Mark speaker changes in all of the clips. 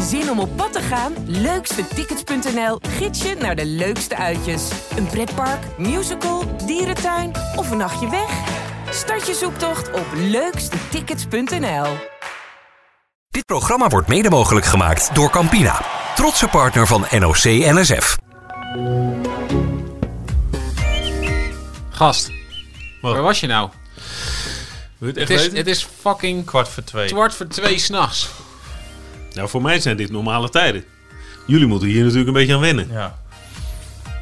Speaker 1: Zin om op pad te gaan? Leukstetickets.nl gids je naar de leukste uitjes. Een pretpark, musical, dierentuin of een nachtje weg? Start je zoektocht op leukstetickets.nl.
Speaker 2: Dit programma wordt mede mogelijk gemaakt door Campina, trotse partner van NOC NSF.
Speaker 3: Gast,
Speaker 4: Wat?
Speaker 3: waar was je nou?
Speaker 4: Wil je het echt
Speaker 3: Het is,
Speaker 4: weten?
Speaker 3: het is fucking
Speaker 4: Kwart voor twee.
Speaker 3: kwart voor twee s'nachts.
Speaker 4: Nou, voor mij zijn dit normale tijden. Jullie moeten hier natuurlijk een beetje aan wennen.
Speaker 5: Ja.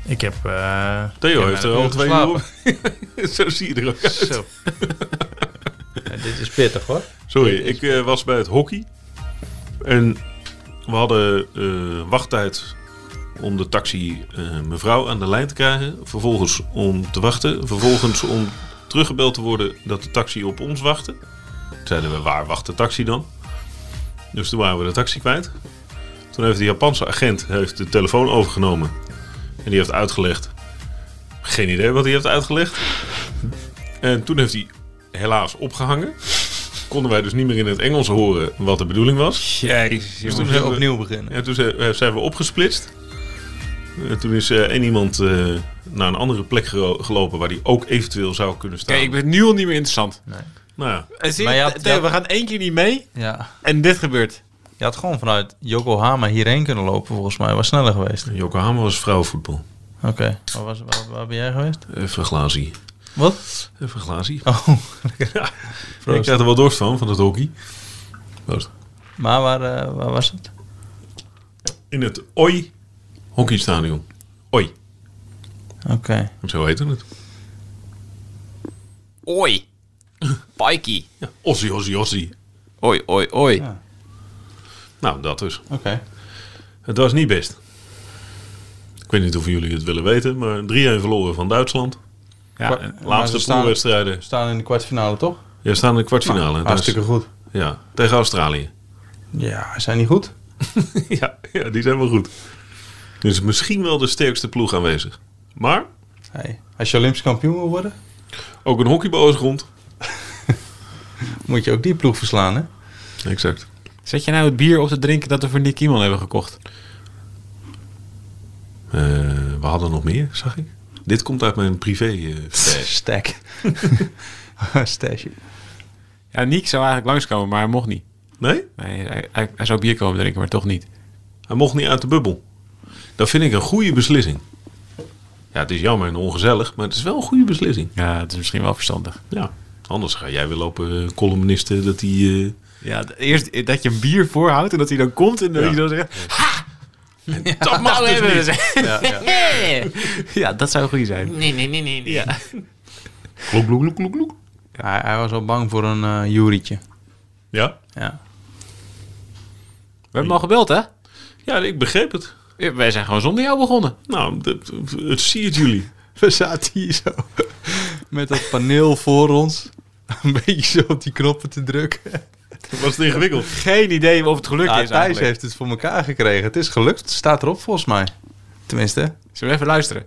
Speaker 5: Ik heb... eh,
Speaker 4: Theo
Speaker 3: Ja,
Speaker 4: heeft
Speaker 3: maar
Speaker 4: er
Speaker 3: dan
Speaker 4: al
Speaker 3: heb je
Speaker 4: twee uur op. Zo zie je er ook uit.
Speaker 3: Zo.
Speaker 5: dit is pittig hoor.
Speaker 4: Sorry, ik eh, was bij het hockey. En we hadden eh, wachttijd om de taxi eh, mevrouw aan de lijn te krijgen. Vervolgens om te wachten. Vervolgens om teruggebeld te worden dat de taxi op ons wachtte. Toen zeiden we, waar wacht de taxi dan? Dus toen waren we de taxi kwijt. Toen heeft de Japanse agent heeft de telefoon overgenomen. En die heeft uitgelegd. Geen idee wat hij heeft uitgelegd. En toen heeft hij helaas opgehangen konden wij dus niet meer in het Engels horen wat de bedoeling was.
Speaker 5: Jezus,
Speaker 4: Dus toen hebben we-
Speaker 5: beginnen.
Speaker 4: En toen zijn eh, zijn we opgesplitst. En toen is eh, één iemand eh, naar een andere plek gero- gelopen waar die ook eventueel zou kunnen staan.
Speaker 3: Kijk, ik ben nu al niet meer interessant.
Speaker 4: Nou ja,
Speaker 6: En Eh, zie je,
Speaker 5: Maar je had-
Speaker 6: Theo,
Speaker 5: ja.
Speaker 6: we gaan één keer niet mee
Speaker 5: Ja.
Speaker 6: en dit gebeurt.
Speaker 5: Je had gewoon vanuit Yokohama hierheen kunnen lopen volgens mij. Was sneller geweest.
Speaker 4: Yokohama was vrouwenvoetbal. Eh,
Speaker 5: Oké. Waar, was, waar, waar ben jij geweest?
Speaker 4: Even glazie.
Speaker 5: Wat?
Speaker 4: Even glazie.
Speaker 5: Oh.
Speaker 4: Ja.
Speaker 5: Proost.
Speaker 4: Ik krijg er wel dorst van, van het hockey. Proost.
Speaker 5: Maar waar, eh, waar was het?
Speaker 4: In het Oi hockeystadion. Oi,
Speaker 5: Oké.
Speaker 4: zo heette het.
Speaker 3: Oi. Pikey.
Speaker 4: Ja. Ossie, ossie, ossie.
Speaker 3: Oi, oi, oi.
Speaker 4: Nou, dat dus.
Speaker 5: Oké.
Speaker 4: Het was niet best. Ik weet niet of jullie het willen weten, maar 3-1 verloren van Duitsland.
Speaker 5: Maar-
Speaker 4: Ja, en
Speaker 5: maar ze
Speaker 4: laatste
Speaker 5: staan-
Speaker 4: poolwedstrijden.
Speaker 5: We staan in de kwartfinale toch?
Speaker 4: Ja, staan in de kwartfinale. Dus-
Speaker 5: Hartstikke goed.
Speaker 4: ja, tegen Australië.
Speaker 5: Ja, zijn die goed?
Speaker 4: ja, ja, die zijn wel goed. Dus misschien wel de sterkste ploeg aanwezig. Maar
Speaker 5: Hey. Als je Olympisch kampioen wil worden,
Speaker 4: ook een hockeyboos rond.
Speaker 5: moet je ook die ploeg verslaan hè?
Speaker 4: Exact.
Speaker 3: Zet je nou het bier op te drinken dat we voor Nick Iman hebben gekocht?
Speaker 4: Eh, we hadden nog meer, zag ik. Dit komt uit mijn privé. eh, stash.
Speaker 5: Stack. Stash.
Speaker 3: Ja, Nick zou eigenlijk langskomen, maar hij mocht niet.
Speaker 4: nee,
Speaker 3: Nee, hij, hij, hij zou bier komen drinken, maar toch niet.
Speaker 4: hij mocht niet uit de bubbel. Dat vind ik een goede beslissing. Ja, het is jammer en ongezellig, maar het is wel een goede beslissing.
Speaker 3: Ja, dat is misschien wel verstandig.
Speaker 4: Ja, anders ga jij weer lopen eh, columnisten dat die... eh,
Speaker 3: Ja, eerst dat je een bier voorhoudt en dat hij dan komt en dat
Speaker 4: Ja. hij
Speaker 3: dan zegt...
Speaker 4: dat mag dus
Speaker 6: Nou,
Speaker 4: niet.
Speaker 3: Ja, ja. dat zou goed zijn.
Speaker 6: Nee, nee, nee, nee. Ja.
Speaker 4: Kloek, kloek, kloek, kloek, kloek.
Speaker 5: Hij, hij was al bang voor een eh jurietje.
Speaker 4: Ja?
Speaker 5: Ja.
Speaker 3: We hebben hem al gebeld, hè?
Speaker 4: ja, ik begreep het.
Speaker 3: Ja, Wij zijn gewoon zonder jou begonnen.
Speaker 4: Nou, dat, het zie het jullie.
Speaker 5: We zaten hier zo met dat paneel voor ons. Een beetje zo op die knoppen te drukken.
Speaker 4: Was het ingewikkeld?
Speaker 3: Geen idee of het gelukt
Speaker 5: Ja,
Speaker 3: is
Speaker 5: Thijs
Speaker 3: eigenlijk.
Speaker 5: heeft het voor elkaar gekregen. Het is gelukt. Het staat erop volgens mij. Tenminste.
Speaker 3: Zullen we even luisteren?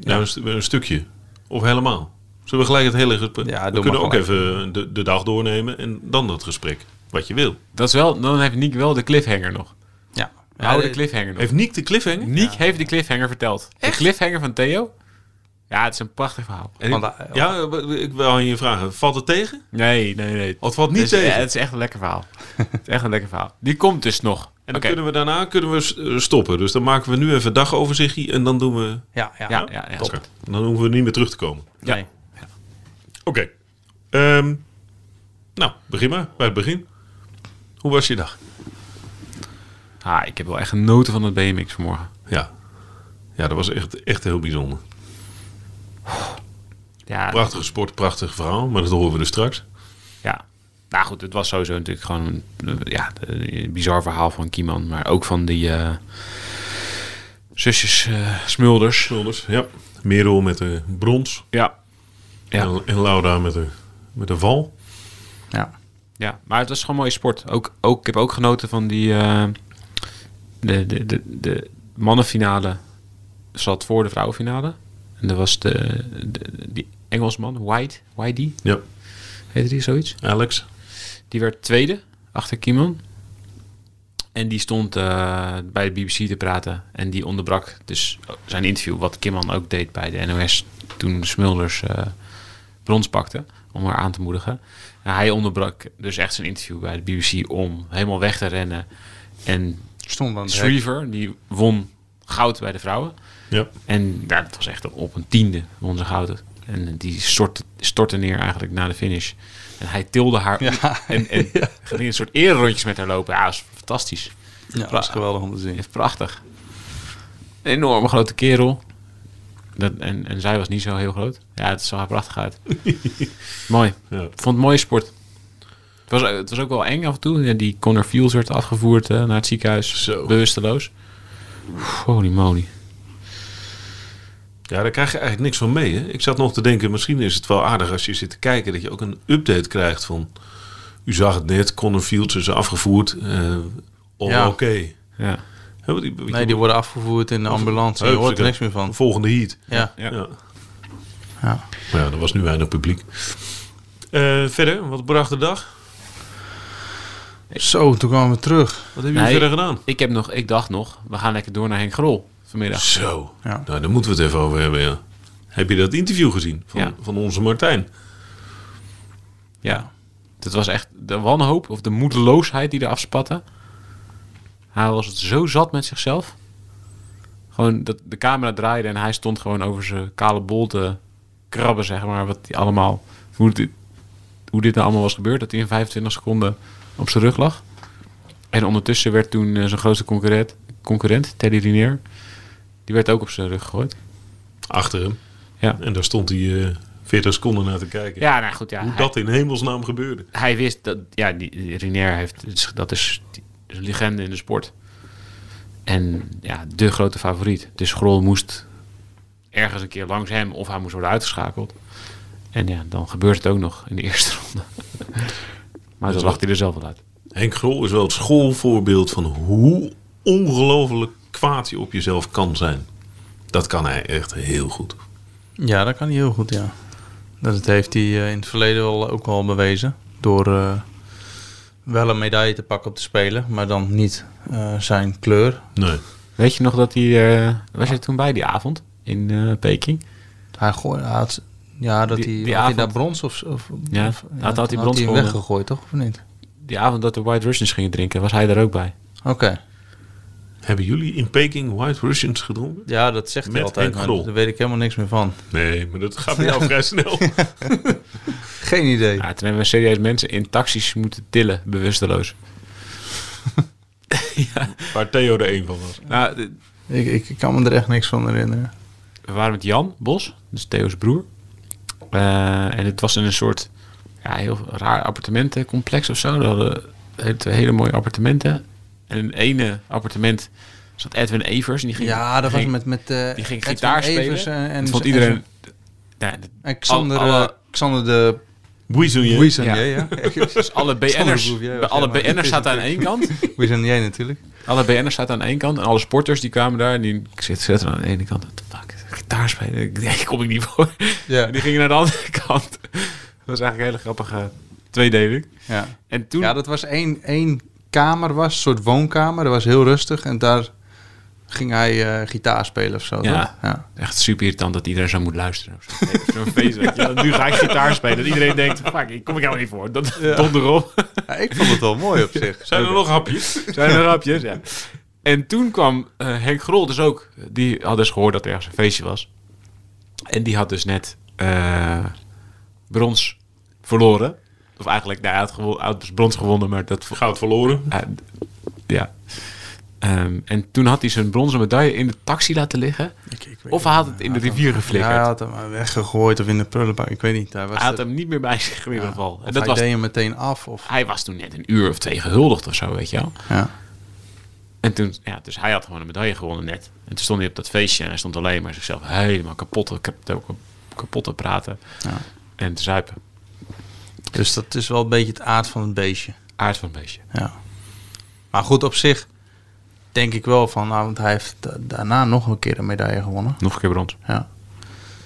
Speaker 4: Nou, een, st- een stukje. Of helemaal. Zullen we gelijk het hele gesprek...
Speaker 5: Ja, doe
Speaker 4: we kunnen
Speaker 5: maar
Speaker 4: ook even eh, de, de dag doornemen en dan dat gesprek. Wat je wil.
Speaker 3: Dat is wel, dan heeft Nick wel de cliffhanger nog.
Speaker 5: Ja. eh,
Speaker 3: We houden
Speaker 5: dit-
Speaker 3: de cliffhanger nog.
Speaker 4: Heeft Niek de cliffhanger?
Speaker 3: Nick heeft de cliffhanger verteld. De cliffhanger van Theo? Ja, het is een prachtig verhaal.
Speaker 4: En
Speaker 5: Want
Speaker 4: ik-
Speaker 5: hij-
Speaker 4: ja, w- w- ik wil aan je vragen. Valt het tegen?
Speaker 3: Nee, nee, nee.
Speaker 4: Of het valt niet
Speaker 3: Het is,
Speaker 4: tegen?
Speaker 3: ja, het is echt een lekker verhaal. het is echt een lekker verhaal. Die komt dus nog.
Speaker 4: En dan
Speaker 3: Oké.
Speaker 4: kunnen we daarna kunnen we s- eh, stoppen. Dus dan maken we nu even dagoverzichtje en dan doen we...
Speaker 5: Ja, ja.
Speaker 3: Ja, ja, ja.
Speaker 4: Oké. Dan hoeven we niet meer terug te komen.
Speaker 3: Ja.
Speaker 5: Nee.
Speaker 4: Oké. Ehm, nou, begin maar. Bij het begin. Hoe was je dag?
Speaker 3: Ah, ik heb wel echt genoten van het BMX vanmorgen.
Speaker 4: Ja. Ja, dat was echt, echt heel bijzonder.
Speaker 3: Ja,
Speaker 4: Prachtige sport, prachtig verhaal. Maar dat horen we dus straks.
Speaker 3: Ja. Nou goed, het was sowieso natuurlijk gewoon een, eh, ja, een bizar verhaal van Kieman. Maar ook van die eh, zusjes eh, Smulders.
Speaker 4: Schulders, ja. Merel met de brons.
Speaker 3: Ja. Ja.
Speaker 4: En, en Laura met de, met de val.
Speaker 5: Ja.
Speaker 3: ja, maar het was gewoon mooie sport. Ook, ook, ik heb ook genoten van die... eh, de, de, de, de mannenfinale zat voor de vrouwenfinale. En dat was de, de- die Engelsman, White, Whitey,
Speaker 4: Ja.
Speaker 3: heette die zoiets.
Speaker 4: Alex.
Speaker 3: Die werd tweede achter Kieman. En die stond eh, bij de BBC te praten. En die onderbrak dus zijn interview, wat Kimman ook deed bij de NOS toen Smulders eh, brons pakte, om haar aan te moedigen. En hij onderbrak dus echt zijn interview bij de BBC om helemaal weg te rennen. En
Speaker 5: Stond aan het hek.
Speaker 3: Shriver, die won goud bij de vrouwen.
Speaker 4: Ja.
Speaker 3: En ja, dat was echt op een tiende won ze goud. En die stortte, stortte neer eigenlijk na de finish. En hij tilde haar op en, en ging een soort ererondjes met haar lopen. Ja, dat is fantastisch.
Speaker 5: Ja, dat is geweldig om te zien.
Speaker 3: Echt prachtig. Een enorme grote kerel. Dat, en, en zij was niet zo heel groot. Ja, het zag er prachtig uit. Mooi.
Speaker 4: Ja.
Speaker 3: Ik Vond het mooie sport. Het was, het was ook wel eng af en toe. Ja, die Connor Fields werd afgevoerd eh, naar het ziekenhuis.
Speaker 4: Zo.
Speaker 3: Bewusteloos. Holy moly.
Speaker 4: Ja, daar krijg je eigenlijk niks van mee. Hè? Ik zat nog te denken, misschien is het wel aardig als je zit te kijken dat je ook een update krijgt van. U zag het net, Connor Fields is afgevoerd. eh oh,
Speaker 5: Ja.
Speaker 4: oké.
Speaker 3: Ja.
Speaker 4: Hè, want die-
Speaker 5: Nee, die worden afgevoerd in de ambulance. Je
Speaker 4: Heupseke.
Speaker 5: hoort er niks meer van.
Speaker 4: Volgende heat.
Speaker 5: Ja.
Speaker 4: Ja.
Speaker 3: Ja.
Speaker 5: Ja.
Speaker 4: Maar ja, er was nu weinig publiek. Eh, verder, wat bracht de dag?
Speaker 5: Zo, toen kwamen we terug.
Speaker 4: Wat hebben jullie
Speaker 3: Nee.
Speaker 4: verder gedaan?
Speaker 3: Ik, heb nog, ik dacht nog, we gaan lekker door naar Henk Grol vanmiddag.
Speaker 4: Zo.
Speaker 5: Ja.
Speaker 4: Nou, daar moeten we het even over hebben. Ja. Heb je dat interview gezien van,
Speaker 3: Ja.
Speaker 4: van onze Martijn?
Speaker 3: Ja. Dat was echt de wanhoop of de moedeloosheid die er afspatte. Hij was het zo zat met zichzelf. Gewoon dat de camera draaide en hij stond gewoon over zijn kale bol te krabben, zeg maar. Wat hij allemaal, hoe dit, hoe dit nou allemaal was gebeurd. Dat hij in 25 seconden op zijn rug lag. En ondertussen werd toen eh, zijn grootste concurrent, concurrent Teddy Riner, die werd ook op zijn rug gegooid.
Speaker 4: Achter hem.
Speaker 3: Ja.
Speaker 4: En daar stond hij eh 40 seconden naar te kijken.
Speaker 3: Ja, nou goed, ja.
Speaker 4: Hoe
Speaker 3: hij-
Speaker 4: dat in hemelsnaam gebeurde.
Speaker 3: hij wist dat ja, die, die Rinier heeft is- dat is, die is een legende in de sport. En ja, de grote favoriet. Dus Grol moest ergens een keer langs hem of hij moest worden uitgeschakeld. En ja, dan gebeurt het ook nog in de eerste ronde. maar dan Dus lacht hij er zelf wel uit.
Speaker 4: Henk Grol is wel het schoolvoorbeeld van hoe ongelooflijk kwaad je op jezelf kan zijn. Dat kan hij echt heel goed.
Speaker 5: Ja, dat kan hij heel goed, ja. Dat heeft hij eh, in het verleden wel, ook al bewezen. Door eh, wel een medaille te pakken op de Spelen, maar dan niet eh, zijn kleur.
Speaker 4: Nee.
Speaker 3: Weet je nog dat hij... eh, was je toen bij die avond in eh, Peking?
Speaker 5: Hij gooi, hij had, ja, dat
Speaker 3: Die-
Speaker 5: hij,
Speaker 3: die
Speaker 5: had hij
Speaker 3: avond-
Speaker 5: daar brons of... of
Speaker 3: Ja,
Speaker 5: of-
Speaker 3: had- had hij
Speaker 5: toen
Speaker 3: brons
Speaker 5: hem
Speaker 3: gewonnen.
Speaker 5: weggegooid, toch? Of niet?
Speaker 3: Die avond dat de White Russians gingen drinken, was hij daar ook bij.
Speaker 5: Oké.
Speaker 4: Hebben jullie in Peking White Russians gedronken?
Speaker 5: Ja, dat zegt hij
Speaker 4: Met
Speaker 5: altijd,
Speaker 4: Henk
Speaker 5: maar
Speaker 4: Grol.
Speaker 5: daar weet ik helemaal niks meer van.
Speaker 4: Nee, maar dat gaat bij jou vrij snel.
Speaker 5: Geen idee.
Speaker 3: Ja, toen hebben we serieus mensen in taxis moeten tillen, bewusteloos.
Speaker 4: Waar Theo er een van was.
Speaker 3: Nou, de-
Speaker 5: Ik, ik, ik kan me er echt niks van herinneren.
Speaker 3: we waren met Jan Bos, dus Theo's broer. Eh, en het was in een soort ja, heel raar appartementencomplex of zo. We hadden hele- twee hele mooie appartementen. En in het ene appartement zat Edwin Evers. En die ging,
Speaker 5: Ja, dat was
Speaker 3: ging-
Speaker 5: met, met eh,
Speaker 3: die ging
Speaker 5: Edwin
Speaker 3: gitaar
Speaker 5: Evers
Speaker 3: spelen.
Speaker 5: En, en,
Speaker 3: dat vond
Speaker 5: en-
Speaker 3: iedereen... Ja, dat-
Speaker 5: En Xander,
Speaker 3: Alle- alle-
Speaker 5: eh, Xander de
Speaker 4: Buizonje.
Speaker 5: Wiesenje, ja.
Speaker 3: dus alle BN'ers,
Speaker 5: Boef, jij was
Speaker 3: bij alle
Speaker 5: helemaal-
Speaker 3: BN'ers zaten aan één kant.
Speaker 5: Wiesenje natuurlijk.
Speaker 3: Alle BN'ers zaten aan één kant. En alle sporters die kwamen daar. En die ik zit, zit er aan de ene kant. What the Fuck, gitaar spelen. Ik denk, kom ik niet voor.
Speaker 5: Ja.
Speaker 3: En die gingen naar de andere kant. Dat was eigenlijk een hele grappige tweedeling.
Speaker 5: Ja,
Speaker 3: En toen...
Speaker 5: ja dat was één, één kamer, was, een soort woonkamer. Dat was heel rustig en daar ging hij eh, gitaar spelen of zo.
Speaker 3: Ja.
Speaker 5: toch? ja.
Speaker 3: Echt super irritant dat iedereen zo moet luisteren. of zo. Nee, Zo'n feest, weet je wel. Nu ga ik gitaar spelen. En iedereen denkt, fuck, ik kom ik helemaal niet voor. Dat donder op.
Speaker 5: Ja, ik vond het wel mooi op zich.
Speaker 4: Zijn er nog hapjes?
Speaker 3: Zijn er hapjes, ja. En toen kwam eh, Henk Grol dus ook. Die had dus gehoord dat er ergens een feestje was. En die had dus net eh, brons verloren. Of eigenlijk, nou, hij had, gewo- hij had dus brons gewonnen, maar dat...
Speaker 4: Goud verloren.
Speaker 3: eh, ja. Ehm, en toen had hij zijn bronzen medaille in de taxi laten liggen. of hij had het in de rivier geflikkerd.
Speaker 5: Ja, hij had hem maar weggegooid of in de prullenbak, ik weet niet. Hij, was
Speaker 3: Hij had
Speaker 5: er-
Speaker 3: hem niet meer bij zich in ieder geval.
Speaker 5: of
Speaker 3: En dat
Speaker 5: hij
Speaker 3: was,
Speaker 5: deed hem meteen af. Of,
Speaker 3: hij was toen net een uur of twee gehuldigd of zo, weet je wel.
Speaker 5: ja.
Speaker 3: En toen, ja, dus hij had gewoon een medaille gewonnen net. En toen stond hij op dat feestje en hij stond alleen maar zichzelf helemaal kapot, te- kap- kapot te praten.
Speaker 5: Ja.
Speaker 3: En te zuipen.
Speaker 5: Dus dat is wel een beetje het aard van het beestje.
Speaker 3: Aard van het beestje.
Speaker 5: Ja. Maar goed, op zich denk ik wel van, nou, want hij heeft da- daarna nog een keer een medaille gewonnen.
Speaker 3: Nog een keer brons.
Speaker 5: Ja.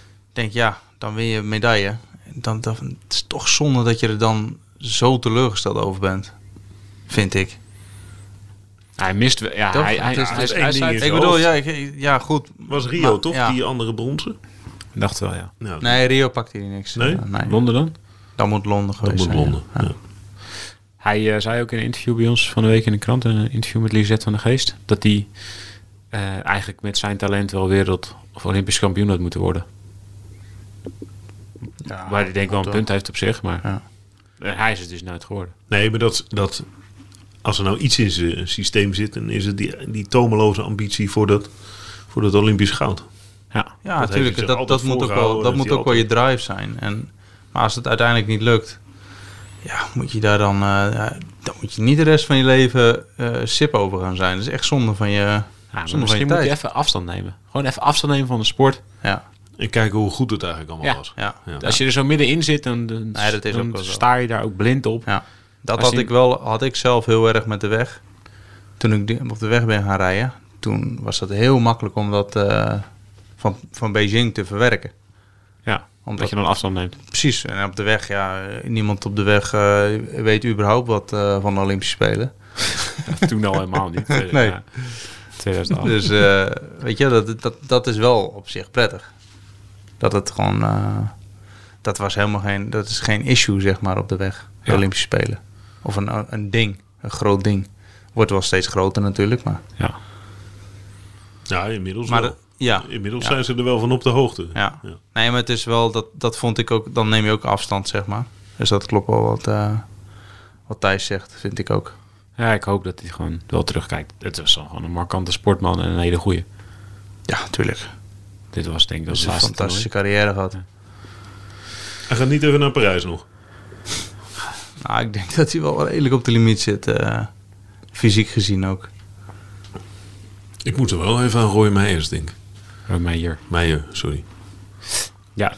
Speaker 5: Ik denk, ja, dan win je een medaille. Dan, dan, het is toch zonde dat je er dan zo teleurgesteld over bent. Vind ik.
Speaker 3: Hij mist wel. Ja,
Speaker 5: Toch?
Speaker 3: hij,
Speaker 5: Het
Speaker 3: hij,
Speaker 5: is-
Speaker 3: hij,
Speaker 4: het is
Speaker 3: hij
Speaker 4: één
Speaker 3: sluit-
Speaker 4: ding.
Speaker 5: Ik bedoel, ja, ik, ja goed.
Speaker 4: Was Rio
Speaker 5: Maar-
Speaker 4: toch?
Speaker 5: ja.
Speaker 4: Die andere bronzen?
Speaker 3: Dacht wel, ja.
Speaker 4: Nou,
Speaker 5: Nee, Rio pakt hier niks.
Speaker 4: Nee?
Speaker 5: Eh, nee.
Speaker 3: Londen dan?
Speaker 5: Dan moet Londen geweest
Speaker 4: dat moet
Speaker 5: zijn.
Speaker 4: Londen.
Speaker 5: ja.
Speaker 4: Ja.
Speaker 3: Hij eh, zei ook in een interview bij ons van de week in de krant, een interview met Lisette van de Geest, dat hij eh, eigenlijk met zijn talent wel wereld- of Olympisch kampioen had moeten worden.
Speaker 5: Ja,
Speaker 3: Waar hij denk ik wel een
Speaker 5: toch.
Speaker 3: punt heeft op zich, maar
Speaker 5: Ja.
Speaker 3: eh, hij is het dus nooit geworden.
Speaker 4: Nee, maar dat, dat, als er nou iets in zijn systeem zit, dan is het die, die tomeloze ambitie voor dat, voor dat Olympisch goud.
Speaker 3: Ja,
Speaker 5: Ja,
Speaker 4: Dat heeft hij
Speaker 5: natuurlijk.
Speaker 4: zich
Speaker 5: Dat,
Speaker 4: altijd
Speaker 5: dat moet ook wel,
Speaker 4: voorgehouden,
Speaker 5: dat
Speaker 4: dat
Speaker 5: moet
Speaker 4: hij
Speaker 5: ook wel je drive zijn. En, maar als het uiteindelijk niet lukt, ja, moet je daar dan, eh, ja, dan moet je niet de rest van je leven eh, sip over gaan zijn. Dat is echt zonde van je,
Speaker 3: ja
Speaker 5: zonde
Speaker 3: maar
Speaker 5: van je
Speaker 3: misschien moet
Speaker 5: tijd.
Speaker 3: je even afstand nemen. Gewoon even afstand nemen van de sport.
Speaker 5: Ja,
Speaker 4: En kijken hoe goed het eigenlijk allemaal
Speaker 3: Ja.
Speaker 4: was.
Speaker 5: ja.
Speaker 4: Ja.
Speaker 3: Als je er zo middenin zit, dan, dan,
Speaker 5: Nee, dat is
Speaker 3: dan
Speaker 5: ook wel zo.
Speaker 3: sta je daar ook blind op.
Speaker 5: Ja, dat
Speaker 3: Als
Speaker 5: had
Speaker 3: je-
Speaker 5: ik wel, had ik zelf heel erg met de weg. Toen ik die- op de weg ben gaan rijden, toen was dat heel makkelijk om dat eh, van, van Beijing te verwerken.
Speaker 3: Ja,
Speaker 5: Omdat,
Speaker 3: dat je dan afstand neemt.
Speaker 5: precies, en op de weg, ja, eh, niemand op de weg eh, weet überhaupt wat eh, van de Olympische Spelen.
Speaker 3: Toen al helemaal niet.
Speaker 5: Nee.
Speaker 3: Ja, 2008.
Speaker 5: Dus eh, weet je, dat, dat, dat is wel op zich prettig. Dat het gewoon, eh, dat was helemaal geen, dat is geen issue zeg maar op de weg, de
Speaker 3: Ja.
Speaker 5: Olympische Spelen. Of een, een ding, een groot ding. Wordt wel steeds groter natuurlijk, maar...
Speaker 3: Ja.
Speaker 4: Ja, inmiddels
Speaker 5: Maar
Speaker 4: wel.
Speaker 5: de- ja.
Speaker 4: Inmiddels
Speaker 5: Ja.
Speaker 4: zijn ze er wel van op de hoogte.
Speaker 5: Ja.
Speaker 4: Ja.
Speaker 5: Nee, maar het is wel, dat, dat vond ik ook, dan neem je ook afstand, zeg maar. Dus dat klopt wel wat, eh, wat Thijs zegt, vind ik ook.
Speaker 3: ja, ik hoop dat hij gewoon wel terugkijkt. Het was dan gewoon een markante sportman en een hele goeie.
Speaker 5: Ja, tuurlijk.
Speaker 3: Dit was denk ik wel
Speaker 5: Dat is een
Speaker 3: het laatste
Speaker 5: fantastische carrière gehad.
Speaker 4: Hij gaat niet even naar Parijs nog.
Speaker 5: Nou, ik denk dat hij wel redelijk op de limiet zit, eh, fysiek gezien ook.
Speaker 4: Ik moet er wel even aan Roy Meijers denken.
Speaker 3: toernooi. Bij mij hier.
Speaker 4: Meijer, eh, sorry.
Speaker 3: Ja,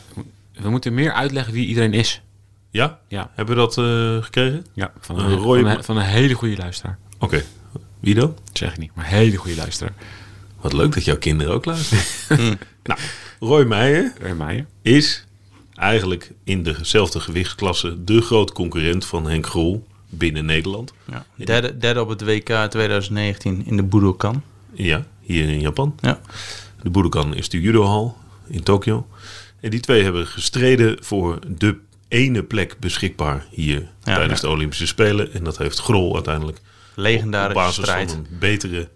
Speaker 3: we moeten meer uitleggen wie iedereen is.
Speaker 4: Ja?
Speaker 3: Ja.
Speaker 4: Hebben we dat eh, gekregen?
Speaker 3: Ja, van
Speaker 4: Een
Speaker 3: een,
Speaker 4: rode
Speaker 3: van,
Speaker 4: ma-
Speaker 3: een, van een hele goede luisteraar.
Speaker 4: Oké. Wie dan?
Speaker 3: Dat zeg ik niet, maar een hele goede luisteraar.
Speaker 4: Wat leuk dat jouw kinderen ook luisteren.
Speaker 5: Mm.
Speaker 4: nou, Roy Meijer
Speaker 3: Weer Meijer.
Speaker 4: is eigenlijk in dezelfde gewichtsklasse de groot concurrent van Henk Grol binnen Nederland.
Speaker 5: Ja. Derde, derde op het WK 2019 in de Budokan.
Speaker 4: Ja, hier in Japan.
Speaker 5: Ja.
Speaker 4: De Budokan is de judohal in Tokio. En die twee hebben gestreden voor de ene plek beschikbaar hier tijdens de Olympische Spelen. En dat heeft Grol uiteindelijk op
Speaker 5: Legendarische
Speaker 4: basis
Speaker 5: strijd.
Speaker 4: van een betere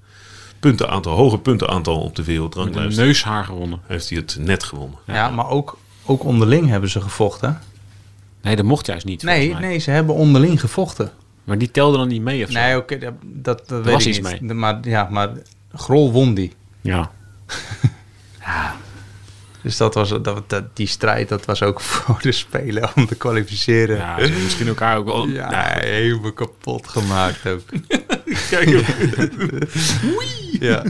Speaker 4: puntenaantal, hoger puntenaantal op de
Speaker 3: Met een
Speaker 4: wereldranglijst
Speaker 3: neushaar gewonnen.
Speaker 4: heeft hij het net gewonnen.
Speaker 5: Ja, maar ook, ook onderling hebben ze gevochten. hè?
Speaker 3: Nee, dat mocht juist niet.
Speaker 5: Nee,
Speaker 3: volgens mij.
Speaker 5: nee, ze hebben onderling gevochten.
Speaker 3: Maar die telde dan niet mee of zo?
Speaker 5: Nee, oké, dat, dat, dat weet
Speaker 3: was
Speaker 5: ik
Speaker 3: iets
Speaker 5: niet. Maar, ja, maar Grol won die.
Speaker 3: Ja.
Speaker 5: Dus dat was, dat, dat- die strijd dat was ook voor de Spelen om te kwalificeren.
Speaker 3: ja, ze hebben misschien elkaar ook wel...
Speaker 5: Ja, helemaal kapot gemaakt ook.
Speaker 4: Kijk,
Speaker 5: ja,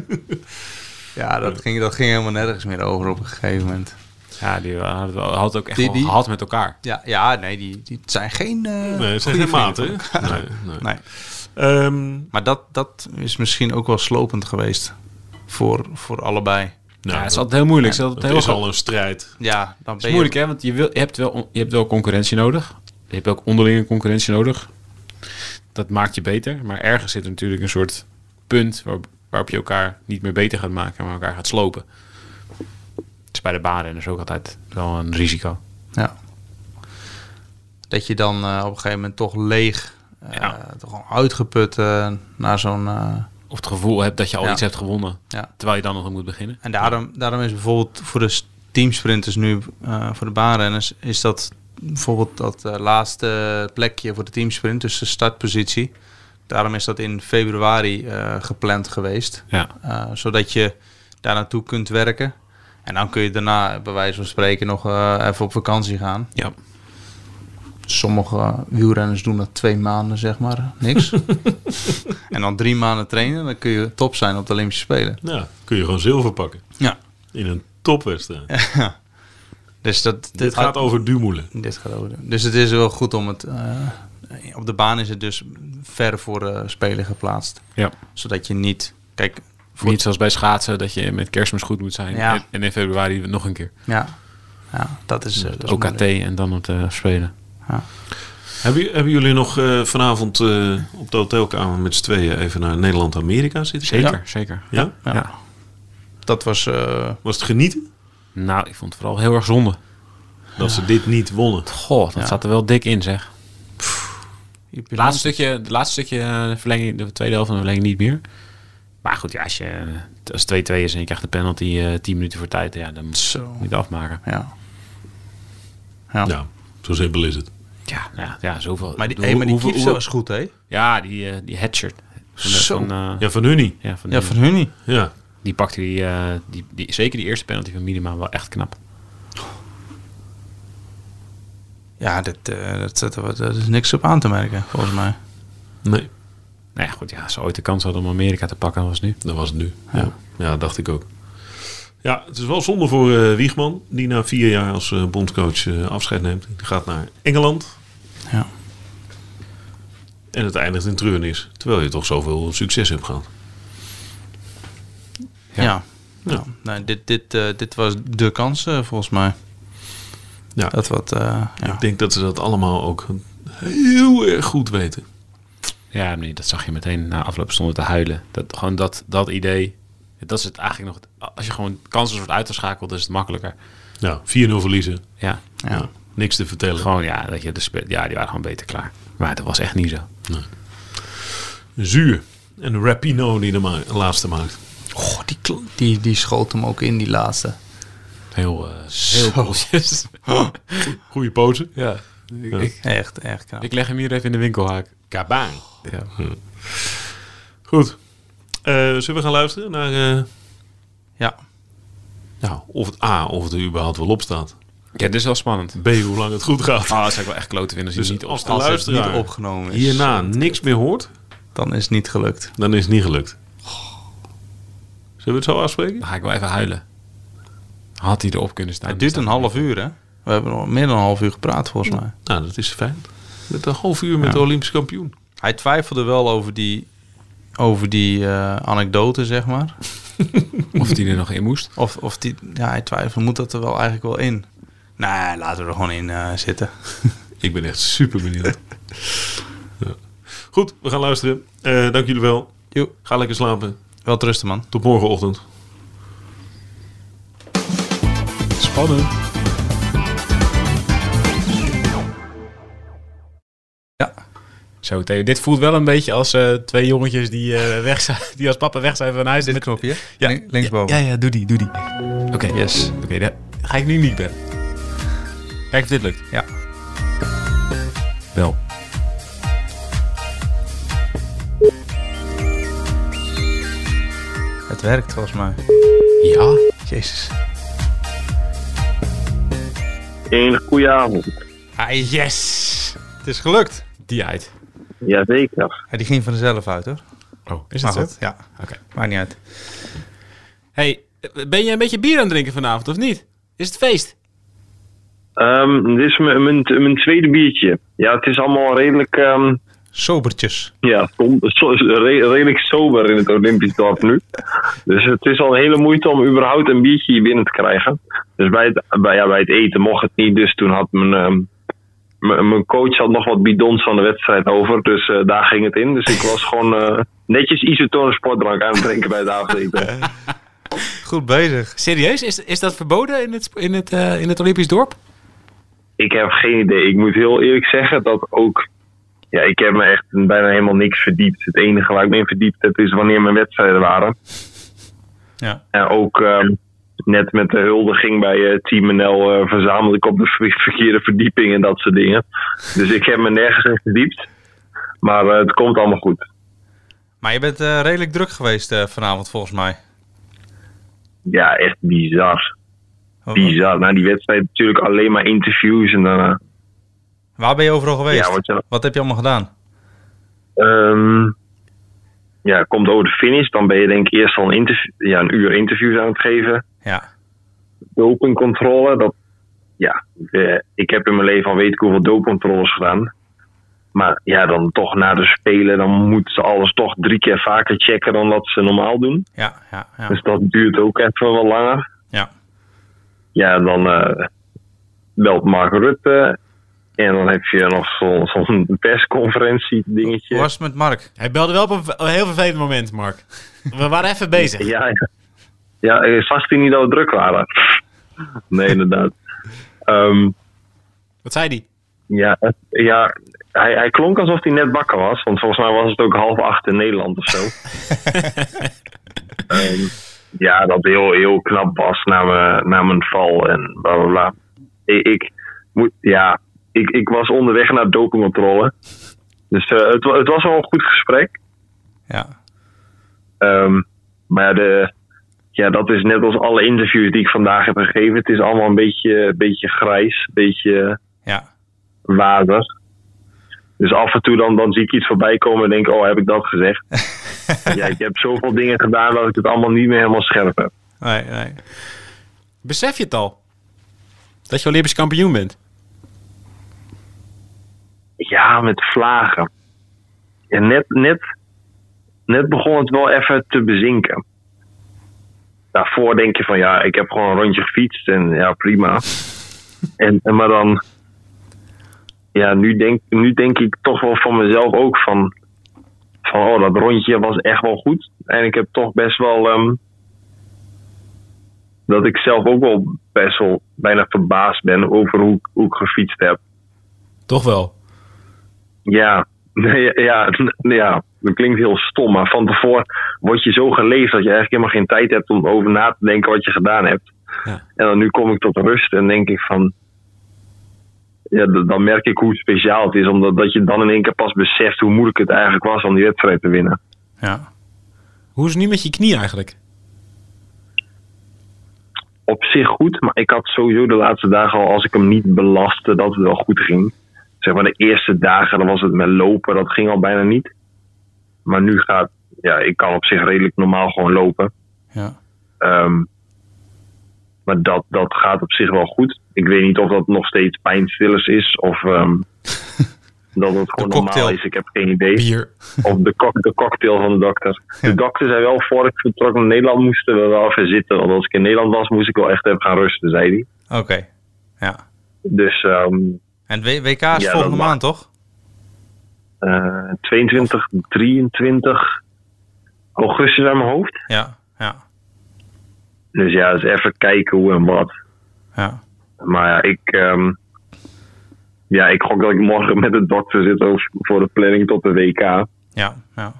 Speaker 5: ja dat, ging, dat ging helemaal nergens meer over op een gegeven moment.
Speaker 3: Ja, die hadden wel- hadden het ook echt
Speaker 5: Die-
Speaker 3: wel
Speaker 5: die-
Speaker 3: gehad met elkaar.
Speaker 5: Ja, ja nee, die, die het zijn geen... eh
Speaker 4: nee, het zijn
Speaker 5: goede
Speaker 4: geen maten.
Speaker 5: vrienden.
Speaker 4: hè? Nee, nee.
Speaker 5: Nee.
Speaker 4: Ehm,
Speaker 5: Maar dat, dat is misschien ook wel slopend geweest voor, voor allebei.
Speaker 4: nou,
Speaker 3: ja, het is altijd heel moeilijk. het is altijd
Speaker 4: dat
Speaker 3: heel
Speaker 4: is al een strijd.
Speaker 5: Ja, dan
Speaker 3: Het
Speaker 5: ben
Speaker 3: is moeilijk, hè? Want je, wil, je, hebt wel, on- je hebt wel concurrentie nodig. Je hebt ook onderlinge concurrentie nodig. Dat maakt je beter. Maar ergens zit er natuurlijk een soort punt waar, waarop je elkaar niet meer beter gaat maken, maar elkaar gaat slopen. Het is bij de banen en dat is ook altijd wel een risico.
Speaker 5: Ja. Dat je dan eh, op een gegeven moment toch leeg, eh,
Speaker 3: Ja.
Speaker 5: toch gewoon uitgeput eh, naar zo'n... eh,
Speaker 3: Of het gevoel hebt dat je al
Speaker 5: Ja.
Speaker 3: iets hebt gewonnen,
Speaker 5: Ja.
Speaker 3: terwijl je dan nog moet beginnen.
Speaker 5: En daarom, daarom is bijvoorbeeld voor de s- teamsprinters nu, eh, voor de baanrenners, is dat bijvoorbeeld dat eh, laatste plekje voor de teamsprint, dus de startpositie. Daarom is dat in februari eh, gepland geweest,
Speaker 3: Ja.
Speaker 5: Eh, zodat je daar naartoe kunt werken. En dan kun je daarna, bij wijze van spreken, nog eh, even op vakantie gaan.
Speaker 3: Ja.
Speaker 5: Sommige wielrenners doen dat twee maanden, zeg maar, niks. en dan drie maanden trainen, dan kun je top zijn op de Olympische Spelen.
Speaker 4: Nou, kun je gewoon zilver pakken
Speaker 5: Ja.
Speaker 4: in een topwedstrijd.
Speaker 5: Dus dat,
Speaker 4: Dit gaat over Dumoulin.
Speaker 5: Dit gaat over. de- Dus het is wel goed om het. eh, op de baan is het dus ver voor de speler geplaatst.
Speaker 3: ja.
Speaker 5: Zodat je niet. Kijk, voor,
Speaker 3: Niet zoals bij schaatsen, dat je met kerstmis goed moet zijn.
Speaker 5: Ja.
Speaker 3: En- En in februari nog een keer.
Speaker 5: Ja, ja, dat is. eh, dat is
Speaker 3: OKT
Speaker 5: moeilijk.
Speaker 3: en dan op de spelen.
Speaker 5: Ja.
Speaker 4: Hebben, ju- hebben jullie nog eh, vanavond eh, op de hotelkamer met z'n tweeën even naar Nederland-Amerika zitten? kijken?
Speaker 3: Zeker, zeker.
Speaker 4: Ja?
Speaker 5: Ja.
Speaker 3: Ja.
Speaker 5: Dat was... eh,
Speaker 4: Was het genieten
Speaker 3: Nou, ik vond het vooral heel erg zonde.
Speaker 4: dat ze dit niet wonnen?
Speaker 3: Goh, dat zat er wel dik in, zeg.
Speaker 5: je
Speaker 3: Het laatste stukje, het laatste stukje eh, verlenging, de tweede helft van de verlenging niet meer. Maar goed, ja, als je eh, als het 2-2 is en je krijgt de penalty eh 10 minuten voor tijd, ja, dan moet
Speaker 5: Zo.
Speaker 3: je het afmaken.
Speaker 5: Ja. ja.
Speaker 4: Ja, zo simpel is het.
Speaker 3: Ja, nou, ja, ja zoveel.
Speaker 5: Maar die,
Speaker 3: Ik bedoel,
Speaker 5: hey, maar die
Speaker 3: hoeveel-
Speaker 5: keeper
Speaker 3: hoeveel-
Speaker 5: was goed, hè?
Speaker 3: Ja, die, eh die headshirt. Van de-
Speaker 5: Zo.
Speaker 3: Van, eh, ja.
Speaker 4: Ja, van hun niet.
Speaker 3: van
Speaker 5: Ja,
Speaker 3: die,
Speaker 5: van hun niet.
Speaker 4: Ja.
Speaker 3: die pakte die, eh, die, die, zeker die eerste penalty van Minima wel echt knap.
Speaker 5: Ja, dat, eh, dat, dat, dat- dat is niks op aan te merken, volgens mij.
Speaker 4: Nee,
Speaker 3: Nou ja, goed, ja, als ze ooit de kans hadden om Amerika te pakken, dan was het nu.
Speaker 4: dat was het nu. Ja. ja, dacht ik ook. Ja, het is wel zonde voor eh, Wiegman, die na vier jaar als eh, bondscoach eh, afscheid neemt. Die gaat naar Engeland
Speaker 5: Ja.
Speaker 4: en het eindigt in treurnis. Terwijl je toch zoveel succes hebt gehad.
Speaker 5: Ja. Nou, nou, dit, dit, eh, dit was de kans, eh, volgens mij.
Speaker 4: Ja.
Speaker 5: Dat wat... eh, ja.
Speaker 4: Ik denk dat ze dat allemaal ook heel erg goed weten.
Speaker 3: Ja, nee, dat zag je meteen na afloop stonden te huilen. Dat, gewoon dat, dat idee. Dat is het eigenlijk nog. het- Als je gewoon kansen wordt uitgeschakeld, is het makkelijker.
Speaker 4: Ja, 4-0 verliezen.
Speaker 3: Ja,
Speaker 4: Ja, niks te vertellen.
Speaker 3: gewoon ja, dat je de spe- ja, die waren gewoon beter klaar. Maar dat was echt niet zo.
Speaker 4: Zuur. En Rapino die de ma- laatste maakt.
Speaker 5: Goh, die, kl- die, die schoot hem ook in, die laatste.
Speaker 3: Heel, eh heel conscious.
Speaker 4: Goeie pose.
Speaker 3: ja.
Speaker 5: Echt, echt knap.
Speaker 3: Ik leg hem hier even in de winkelhaak.
Speaker 4: Kabaan.
Speaker 3: Ja.
Speaker 4: Goed. Eh, zullen we gaan luisteren naar eh,
Speaker 5: Ja.
Speaker 4: nou, of het A, of het er überhaupt wel op staat.
Speaker 3: Ja, dit is wel spannend.
Speaker 4: B, hoe lang het goed gaat.
Speaker 3: Ah, dat zou ik wel echt kloten vinden als
Speaker 4: dus
Speaker 3: je niet
Speaker 4: als
Speaker 3: opstaat.
Speaker 4: de
Speaker 5: Als het niet
Speaker 4: luisteraar
Speaker 5: opgenomen is,
Speaker 4: hierna niks meer hoort,
Speaker 5: dan is het niet gelukt.
Speaker 4: dan is het niet gelukt. Zullen we het zo afspreken?
Speaker 3: Dan ga ik wel even huilen. Had hij erop kunnen staan.
Speaker 5: Het duurt een half uur, hè? We hebben nog meer dan een half uur gepraat, volgens mij.
Speaker 4: Nou, dat is fijn. Met een half uur met de Olympisch kampioen.
Speaker 5: Hij twijfelde wel over die, over die eh, anekdote, zeg maar.
Speaker 3: Of hij er nog in moest.
Speaker 5: Of, of die, ja, hij twijfelde, moet dat er wel eigenlijk wel in? Nee, laten we er gewoon in eh, zitten.
Speaker 4: Ik ben echt super benieuwd. Ja. Goed, we gaan luisteren. Eh, dank jullie wel.
Speaker 5: Jo,
Speaker 4: Ga lekker slapen.
Speaker 5: wel trusten, man.
Speaker 4: Tot morgenochtend.
Speaker 3: Spannend.
Speaker 5: Ja.
Speaker 3: Zo, Theo, dit voelt wel een beetje als eh, twee jongetjes die, eh, weg zijn, die als papa weg zijn van huis. Dit
Speaker 5: knopje?
Speaker 3: Ja.
Speaker 5: Link- linksboven.
Speaker 3: Ja, ja, doe die, doe die. Oké,
Speaker 5: Yes.
Speaker 3: oké, dan ga ik nu niet bellen. Kijk of dit lukt.
Speaker 5: Ja.
Speaker 3: Wel.
Speaker 5: Het werkt, volgens mij.
Speaker 3: Ja?
Speaker 5: Jezus.
Speaker 7: Een goede avond.
Speaker 5: Ah, yes! Het is gelukt.
Speaker 3: Die uit.
Speaker 7: Jazeker.
Speaker 5: Ja, die ging vanzelf uit, hoor.
Speaker 3: Oh, is
Speaker 5: Maar
Speaker 3: dat
Speaker 5: goed,
Speaker 3: zo?
Speaker 5: ja.
Speaker 3: Oké.
Speaker 5: Maakt niet uit.
Speaker 3: hey, ben je een beetje bier aan het drinken vanavond, of niet? Is het feest?
Speaker 7: Ehm, dit is mijn, mijn, mijn tweede biertje. Ja, het is allemaal redelijk, ehm,
Speaker 5: Sobertjes.
Speaker 7: ja, som- so- re- redelijk sober in het Olympisch dorp nu. Dus het is al een hele moeite om überhaupt een biertje hier binnen te krijgen. Dus bij het, bij, ja, bij het eten mocht het niet. Dus toen had mijn, ehm, m- mijn coach had nog wat bidons van de wedstrijd over. Dus eh, daar ging het in. Dus ik was gewoon eh, netjes isotone sportdrank aan het drinken bij het avondeten.
Speaker 5: Goed bezig.
Speaker 3: Serieus? Is, is dat verboden in het, sp- in, het, eh, in het Olympisch dorp?
Speaker 7: Ik heb geen idee. Ik moet heel eerlijk zeggen dat ook. Ja, ik heb me echt bijna helemaal niks verdiept. Het enige waar ik me in verdiept heb is wanneer mijn wedstrijden waren.
Speaker 5: Ja.
Speaker 7: En ook ehm, net met de huldiging bij eh, Team NL eh, verzamelde ik op de ver- verkeerde verdieping en dat soort dingen. Dus ik heb me nergens in verdiept. Maar eh, het komt allemaal goed.
Speaker 5: Maar je bent eh, redelijk druk geweest eh, vanavond, volgens mij.
Speaker 7: Ja, echt bizar.
Speaker 5: Wa-
Speaker 7: Bizar. Na die wedstrijd natuurlijk alleen maar interviews en dan. eh,
Speaker 5: Waar ben je overal geweest?
Speaker 7: Ja, wat je-
Speaker 5: Wat heb je allemaal gedaan?
Speaker 7: Ehm, ja, komt over de finish, dan ben je denk ik eerst al een, interv- ja, een uur interviews aan het geven.
Speaker 5: Ja.
Speaker 7: Dopingcontrole, dat, ja, eh, ik heb in mijn leven al weet ik hoeveel dopingcontroles gedaan. Maar ja, dan toch na de spelen, dan moeten ze alles toch drie keer vaker checken dan dat ze normaal doen.
Speaker 5: Ja, ja, ja.
Speaker 7: Dus dat duurt ook even wat langer.
Speaker 5: Ja.
Speaker 7: Ja, en dan eh, belt Mark Rutte En dan heb je nog zo'n zo'n persconferentie dingetje.
Speaker 5: Hoe was het met Mark?
Speaker 6: Hij belde wel op een v- een heel vervelend moment, Mark. We waren even bezig.
Speaker 7: Ja, ja. ja ik zag die niet dat we druk waren. Nee, inderdaad. Ehm,
Speaker 6: Wat zei hij?
Speaker 7: ja, het- ja hij, hij klonk alsof hij net bakken was. Want volgens mij was het ook half acht in Nederland of zo. Ehm, ja, dat heel, heel knap was na mijn, na mijn val en bla bla bla. Ik, ik, moet, ja, ik, ik was onderweg naar dopingcontrole. Dus eh, het, wa- het was wel een goed gesprek.
Speaker 5: Ja.
Speaker 7: Ehm, maar de, ja, dat is net als alle interviews die ik vandaag heb gegeven. Het is allemaal een beetje, beetje grijs, een beetje
Speaker 5: Ja.
Speaker 7: water. Dus af en toe dan, dan zie ik iets voorbij komen en denk oh, heb ik dat gezegd? ja, ik heb zoveel dingen gedaan dat ik het allemaal niet meer helemaal scherp heb.
Speaker 5: Nee, nee.
Speaker 6: Besef je het al? Dat je Olympisch kampioen bent?
Speaker 7: Ja, met vlagen. En net, net, net begon het wel even te bezinken. Daarvoor denk je van ja, ik heb gewoon een rondje gefietst en ja, prima. En, en maar dan, ja, nu denk, nu denk ik toch wel van mezelf ook van, van oh, dat rondje was echt wel goed. En ik heb toch best wel, ehm, dat ik zelf ook wel best wel bijna verbaasd ben over hoe, ik- hoe ik gefietst heb.
Speaker 6: Toch wel.
Speaker 7: Ja, ja, ja, ja, dat klinkt heel stom, maar van tevoren word je zo geleefd dat je eigenlijk helemaal geen tijd hebt om over na te denken wat je gedaan hebt.
Speaker 3: Ja.
Speaker 7: En dan nu kom ik tot rust en denk ik van. Ja, d- dan merk ik hoe speciaal het is, omdat dat je dan in één keer pas beseft hoe moeilijk het eigenlijk was om die wedstrijd te winnen.
Speaker 5: Ja.
Speaker 6: Hoe is het nu met je knie eigenlijk?
Speaker 7: Op zich goed, maar ik had sowieso de laatste dagen al, als ik hem niet belastte, dat het wel goed ging. Zeg maar de eerste dagen, dan was het met lopen, dat ging al bijna niet. Maar nu gaat, ja, ik kan op zich redelijk normaal gewoon lopen.
Speaker 5: Ja.
Speaker 7: Ehm, maar dat, dat gaat op zich wel goed. Ik weet niet of dat nog steeds pijnstillers is of ehm, dat het gewoon normaal
Speaker 5: cocktail.
Speaker 7: is. Ik heb geen idee.
Speaker 6: Bier.
Speaker 7: Of de, kok- de cocktail van de dokter. De dokter zei wel, voor ik vertrok naar Nederland moesten we wel even zitten. Want als ik in Nederland was, moest ik wel echt even gaan rusten, zei hij.
Speaker 5: Oké. Ja.
Speaker 7: Dus ehm,
Speaker 5: En W- WK is
Speaker 7: dat
Speaker 5: volgende
Speaker 7: mag.
Speaker 5: maand, toch?
Speaker 7: eh, 22, 23 augustus aan mijn hoofd.
Speaker 5: Ja. Ja.
Speaker 7: Dus ja, eens even kijken hoe en wat.
Speaker 5: Ja.
Speaker 7: Maar ja, ik, ehm, ja, ik gok dat ik morgen met de dokter zit over, voor de planning tot de WK.
Speaker 5: Ja. Ja.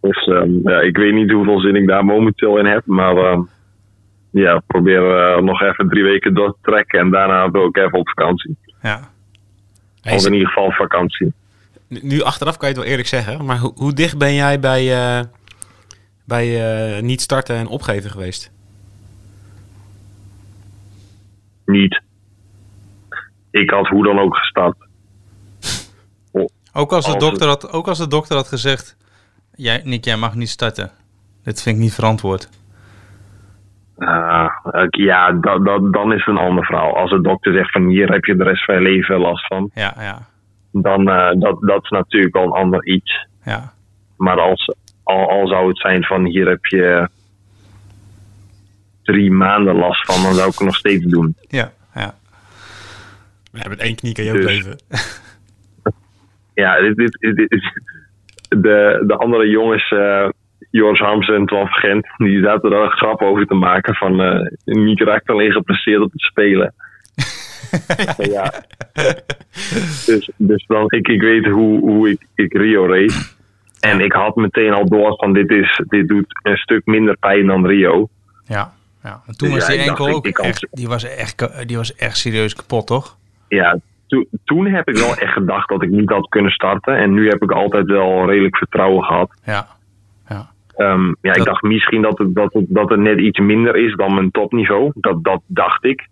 Speaker 7: Dus ehm, ja, ik weet niet hoeveel zin ik daar momenteel in heb. Maar ehm, ja, probeer eh, nog even drie weken door te trekken. En daarna wil ik even op vakantie.
Speaker 5: Ja.
Speaker 6: Hij
Speaker 7: Of
Speaker 6: is-
Speaker 7: in ieder geval vakantie.
Speaker 6: nu achteraf kan je het wel eerlijk zeggen, maar hoe, hoe dicht ben jij bij, eh, bij eh, niet starten en opgeven geweest?
Speaker 7: Niet. Ik had hoe dan ook gestapt.
Speaker 5: Ook als, de
Speaker 7: Als het-
Speaker 5: dokter had, ook als de dokter had gezegd: jij, Nick, jij mag niet starten. Dit vind ik niet verantwoord.
Speaker 7: Ah, ik- ja, da- da- dan is het een ander verhaal. Als de dokter zegt van hier heb je de rest van je leven last van.
Speaker 5: Ja, ja,
Speaker 7: Dan eh, dat, dat is natuurlijk al een ander iets.
Speaker 5: ja,
Speaker 7: Maar als, al, al zou het zijn van hier heb je drie maanden last van, dan zou ik het nog steeds doen.
Speaker 5: ja, ja,
Speaker 6: We hebben één knie kan je ook
Speaker 7: Dus-
Speaker 6: leven.
Speaker 7: Ja, dit, dit, dit- dit is- de, de andere jongens, eh, Joris Hamsen en Twan Gent, die zaten daar een grap over te maken van eh Niek raakt alleen gepresteerd op het spelen. Maar ja. Dus, dus dan, ik, ik weet hoe, hoe ik, ik Rio race. En ik had meteen al door van dit, is, dit doet een stuk minder pijn dan Rio.
Speaker 5: ja. ja. En toen
Speaker 7: Ja,
Speaker 5: was die
Speaker 7: ik dacht,
Speaker 5: enkel
Speaker 7: ik-
Speaker 5: ook
Speaker 7: ik kan-
Speaker 5: echt, die was echt, ka- die was echt serieus kapot, toch?
Speaker 7: ja, to- toen heb ik wel echt gedacht dat ik niet had kunnen starten. En nu heb ik altijd wel redelijk vertrouwen gehad.
Speaker 5: Ja, ja,
Speaker 7: Ehm, ja, ik
Speaker 5: Dat-
Speaker 7: dacht misschien dat het, dat, het, dat het net iets minder is dan mijn topniveau. Dat, dat dacht ik.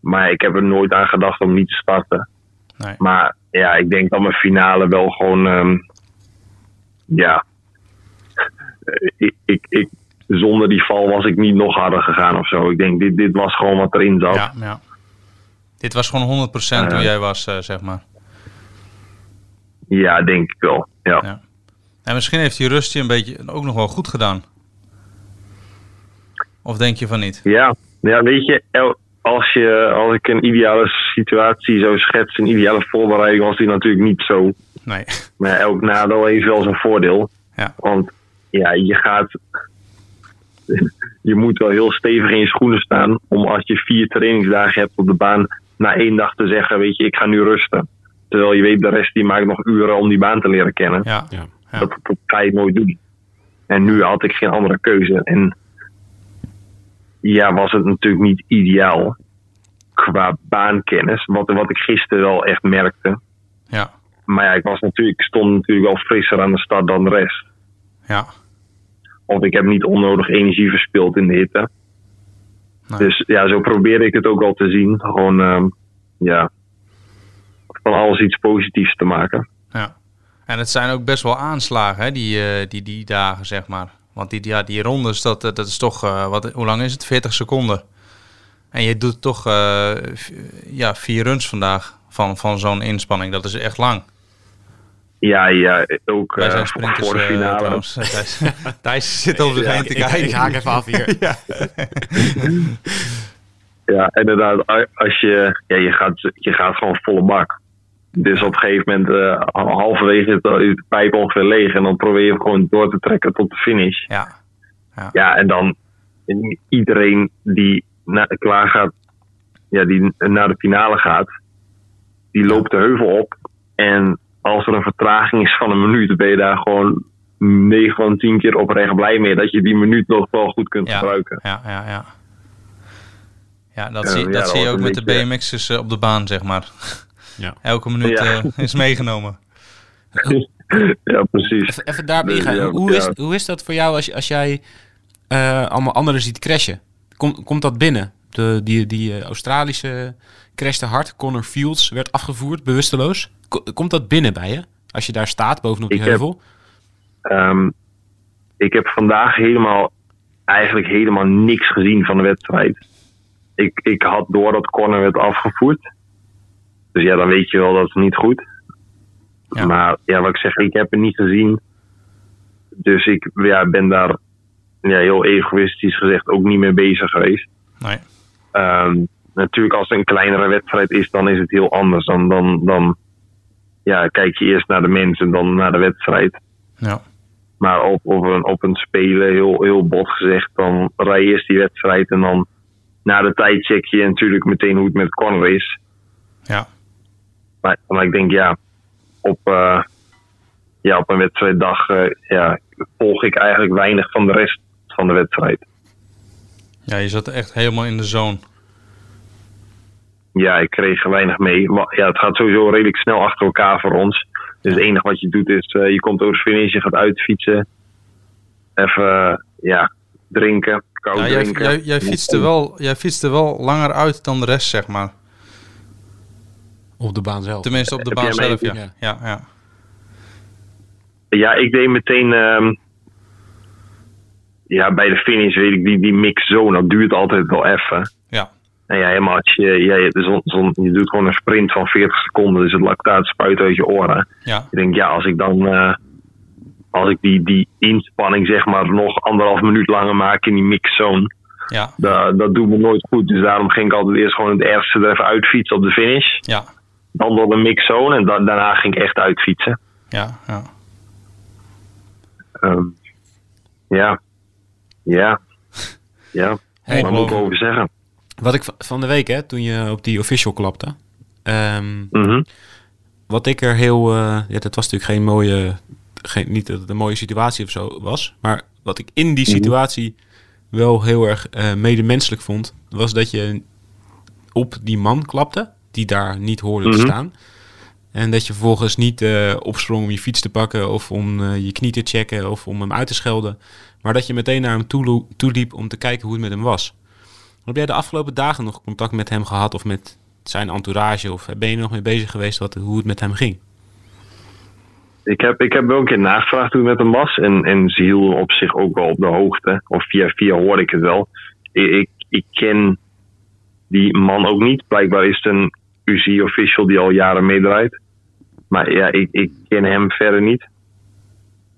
Speaker 7: Maar ik heb er nooit aan gedacht om niet te starten.
Speaker 5: Nee.
Speaker 7: Maar ja, ik denk dat mijn finale wel gewoon. ehm, ja. ik, ik, ik, zonder die val was ik niet nog harder gegaan of zo. Ik denk, dit, dit was gewoon wat erin zat.
Speaker 5: ja, ja. Dit was gewoon 100% hoe
Speaker 7: Eh.
Speaker 5: jij was, eh, zeg maar.
Speaker 7: Ja, denk ik wel. Ja.
Speaker 5: Ja. En misschien heeft die rust je een beetje ook nog wel goed gedaan. Of denk je van niet?
Speaker 7: Ja, ja weet je, el- als, je, als ik een ideale situatie zou schetsen, een ideale voorbereiding, was die natuurlijk niet zo.
Speaker 5: Nee.
Speaker 7: Maar ja, elk nadeel heeft wel zijn voordeel.
Speaker 5: Ja.
Speaker 7: Want ja, je gaat. Je moet wel heel stevig in je schoenen staan. om als je vier trainingsdagen hebt op de baan. na één dag te zeggen: Weet je, ik ga nu rusten. Terwijl je weet, de rest die maakt nog uren om die baan te leren kennen.
Speaker 5: Ja.
Speaker 8: Ja.
Speaker 5: Ja.
Speaker 7: Dat, dat ga je nooit doen. En nu had ik geen andere keuze. En ja, was het natuurlijk niet ideaal qua baankennis. Wat, wat ik gisteren wel echt merkte.
Speaker 5: Ja.
Speaker 7: Maar ja, ik, was natuurlijk, ik stond natuurlijk al frisser aan de start dan de rest.
Speaker 5: Ja.
Speaker 7: Of ik heb niet onnodig energie verspild in de hitte.
Speaker 5: Nee.
Speaker 7: Dus ja, zo probeer ik het ook al te zien. Gewoon, ehm, ja, van alles iets positiefs te maken.
Speaker 5: Ja. En het zijn ook best wel aanslagen, hè, die, eh, die, die dagen, zeg maar. Want die, die- ja, die rondes, dat, eh, dat is toch, eh, wat, hoe lang is het? 40 seconden. En je doet toch eh, v- ja, vier runs vandaag van, van zo'n inspanning. Dat is echt lang.
Speaker 7: Ja, ja, ook
Speaker 5: Wij
Speaker 7: eh,
Speaker 5: zijn
Speaker 7: voor
Speaker 5: sprinters
Speaker 7: voor de
Speaker 5: eh,
Speaker 7: finale.
Speaker 5: trouwens. Thijs, Thijs zit over zich heen te kijken.
Speaker 3: Ik haak even af hier.
Speaker 7: Ja, inderdaad. a- Als je, ja, je, gaat, je gaat gewoon volle bak. Dus op een gegeven moment, eh, halverwege is de is de pijp ongeveer leeg. En dan probeer je hem gewoon door te trekken tot de finish.
Speaker 5: Ja,
Speaker 7: Ja, en dan iedereen die na, klaar gaat, ja, die naar de finale gaat, die loopt de heuvel op. En als er een vertraging is van een minuut, ben je daar gewoon 9 van 10 keer oprecht blij mee. Dat je die minuut nog wel goed kunt
Speaker 5: ja,
Speaker 7: gebruiken.
Speaker 5: ja, ja, ja. Ja, dat
Speaker 7: Eh,
Speaker 5: zie,
Speaker 7: ja,
Speaker 5: dat
Speaker 7: dat
Speaker 5: zie je
Speaker 7: wordt
Speaker 5: ook
Speaker 7: een
Speaker 5: met de
Speaker 7: beetje-
Speaker 5: BMX'ers eh, op de baan, zeg maar.
Speaker 8: Ja.
Speaker 5: Elke minuut
Speaker 7: Ja.
Speaker 5: eh, is meegenomen.
Speaker 7: Ja, precies.
Speaker 3: Even, even daarbij
Speaker 7: Nee,
Speaker 3: gaan.
Speaker 7: ja,
Speaker 3: hoe,
Speaker 7: ja.
Speaker 3: is, hoe is dat voor jou als, als jij eh, allemaal anderen ziet crashen? Kom, komt dat binnen? De, die die eh, Australische crashte hard. Connor Fields werd afgevoerd, bewusteloos. Ko- komt dat binnen bij je? Als je daar staat, bovenop die
Speaker 7: Ik heb-
Speaker 3: heuvel?
Speaker 7: Ehm, ik heb vandaag helemaal, eigenlijk helemaal niks gezien van de wedstrijd. Ik, ik had door dat corner werd afgevoerd. Dus ja, dan weet je wel dat het niet goed.
Speaker 5: Ja.
Speaker 7: Maar ja, wat ik zeg, ik heb het niet gezien. Dus ik ja, ben daar ja, heel egoïstisch gezegd ook niet mee bezig geweest.
Speaker 5: Nee.
Speaker 7: Ehm, natuurlijk, als het een kleinere wedstrijd is, dan is het heel anders. Dan, dan, dan ja, kijk je eerst naar de mensen, dan naar de wedstrijd.
Speaker 5: Ja.
Speaker 7: Maar op, op, een, op een spelen, heel, heel bot gezegd, dan rij je eerst die wedstrijd. En dan na de tijd check je natuurlijk meteen hoe het met Conor is.
Speaker 5: Ja.
Speaker 7: Maar, maar ik denk, ja, op, eh, ja, op een wedstrijddag eh, ja, volg ik eigenlijk weinig van de rest van de wedstrijd.
Speaker 5: ja, je zat echt helemaal in de zone.
Speaker 7: Ja, ik kreeg er weinig mee. Maar, ja, het gaat sowieso redelijk snel achter elkaar voor ons. Dus het enige wat je doet is, eh, je komt over de finish, je gaat uitfietsen. Even, eh, ja, drinken, koud
Speaker 5: Ja, Nou, jij,
Speaker 7: drinken.
Speaker 5: jij, jij, fietste wel, jij fietste wel langer uit dan de rest, zeg maar.
Speaker 3: Op de baan zelf.
Speaker 5: Tenminste, op de
Speaker 7: Heb
Speaker 5: baan
Speaker 7: jij mij-
Speaker 5: zelf, ja. Ja,
Speaker 3: Ja.
Speaker 5: ja, ja.
Speaker 7: Ja, ik deed meteen. ehm, ja, bij de finish weet ik, die, die mix zo, dat duurt altijd wel even.
Speaker 5: ja.
Speaker 7: En ja, helemaal als je, ja, je, zon, zon- je doet gewoon een sprint van 40 seconden, dus het lactaat spuit uit je oren. Ik denk, ja, als ik dan. eh, als ik die, die inspanning zeg maar nog anderhalf minuut langer maak in die mixzone,
Speaker 5: Ja,
Speaker 7: dat, dat doet me nooit goed. Dus daarom ging ik altijd eerst gewoon het ergste er even uitfietsen op de finish.
Speaker 5: ja,
Speaker 7: Dan door de mixzone en da- daarna ging ik echt uitfietsen.
Speaker 5: ja, ja.
Speaker 7: Ehm, ja. Ja. Ja.
Speaker 3: Hey,
Speaker 7: Wat moet ik
Speaker 5: Robert.
Speaker 7: over zeggen?
Speaker 3: Wat ik va- van de week, hè, toen je op die official klapte. ehm,
Speaker 7: Mhm.
Speaker 3: wat ik er heel. eh, ja, dat was natuurlijk geen mooie. Geen, niet dat het een mooie situatie of zo was. Maar wat ik in die situatie wel heel erg eh, medemenselijk vond. Was dat je op die man klapte. Die daar niet hoorde
Speaker 7: Mhm.
Speaker 3: te staan. En dat je vervolgens niet eh, opsprong om je fiets te pakken. Of om eh, je knie te checken. Of om hem uit te schelden. Maar dat je meteen naar hem toe, lo- toe liep om te kijken hoe het met hem was. Heb jij de afgelopen dagen nog contact met hem gehad of met zijn entourage? Of ben je er nog mee bezig geweest wat, hoe het met hem ging?
Speaker 7: Ik, heb, ik heb wel een keer nagevraagd hoe het met hem was. En, en ze hielden op zich ook wel op de hoogte. Of via via hoorde ik het wel. Ik, ik, ik ken die man ook niet. Blijkbaar is het een UC-official die al jaren meedraait. Maar ja, ik, ik ken hem verder niet.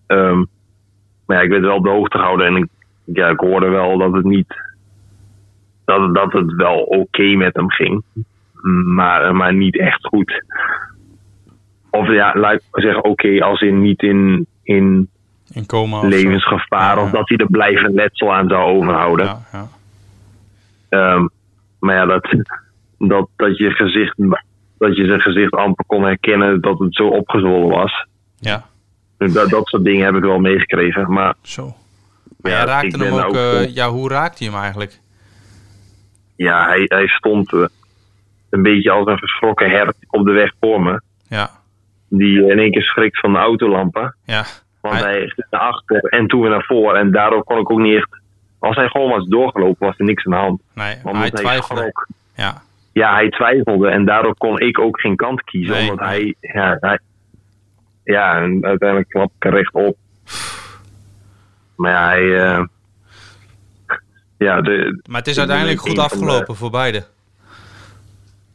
Speaker 7: Ehm, maar ja, ik werd wel op de hoogte gehouden. En ik, ja, ik hoorde wel dat het niet dat, dat het wel oké met hem ging. Maar, maar niet echt goed. Of ja, laat ik maar zeggen oké als in niet in, in
Speaker 5: In coma. of zo.
Speaker 7: levensgevaar.
Speaker 5: Ja,
Speaker 7: Of
Speaker 5: ja.
Speaker 7: dat hij er blijvend letsel aan zou overhouden.
Speaker 5: Ja, ja.
Speaker 7: Ehm, maar ja, dat, dat, dat, je gezicht, dat je zijn gezicht amper kon herkennen dat het zo opgezwollen was. Dus
Speaker 5: ja,
Speaker 7: Dat, dat soort dingen heb ik wel meegekregen. Maar
Speaker 5: zo.
Speaker 7: ja,
Speaker 5: Maar jij
Speaker 7: ik
Speaker 5: raakte
Speaker 7: ben
Speaker 5: hem ook...
Speaker 7: wel-
Speaker 5: eh, ja, hoe raakte je hem eigenlijk?
Speaker 7: ja, hij, hij stond eh, een beetje als een verschrokken hert op de weg voor me.
Speaker 5: Ja,
Speaker 7: Die in één keer schrikt van de autolampen.
Speaker 5: ja.
Speaker 7: Want
Speaker 5: Hij-
Speaker 7: hij ging naar achter en toen weer naar voren. En daardoor kon ik ook niet echt... Als hij gewoon was doorgelopen, was er niks aan de hand.
Speaker 5: Nee, maar
Speaker 7: Omdat
Speaker 5: hij twijfelde.
Speaker 7: schrok.
Speaker 5: Ja,
Speaker 7: ja, hij twijfelde en daardoor kon ik ook geen kant kiezen.
Speaker 5: Nee,
Speaker 7: omdat
Speaker 5: nee.
Speaker 7: hij, ja, hij. Ja, en uiteindelijk klap ik er rechtop. Maar ja, hij. eh, ja, de,
Speaker 5: maar het is
Speaker 7: Ik ben
Speaker 5: uiteindelijk
Speaker 7: een
Speaker 5: goed
Speaker 7: van de-
Speaker 5: afgelopen voor beide.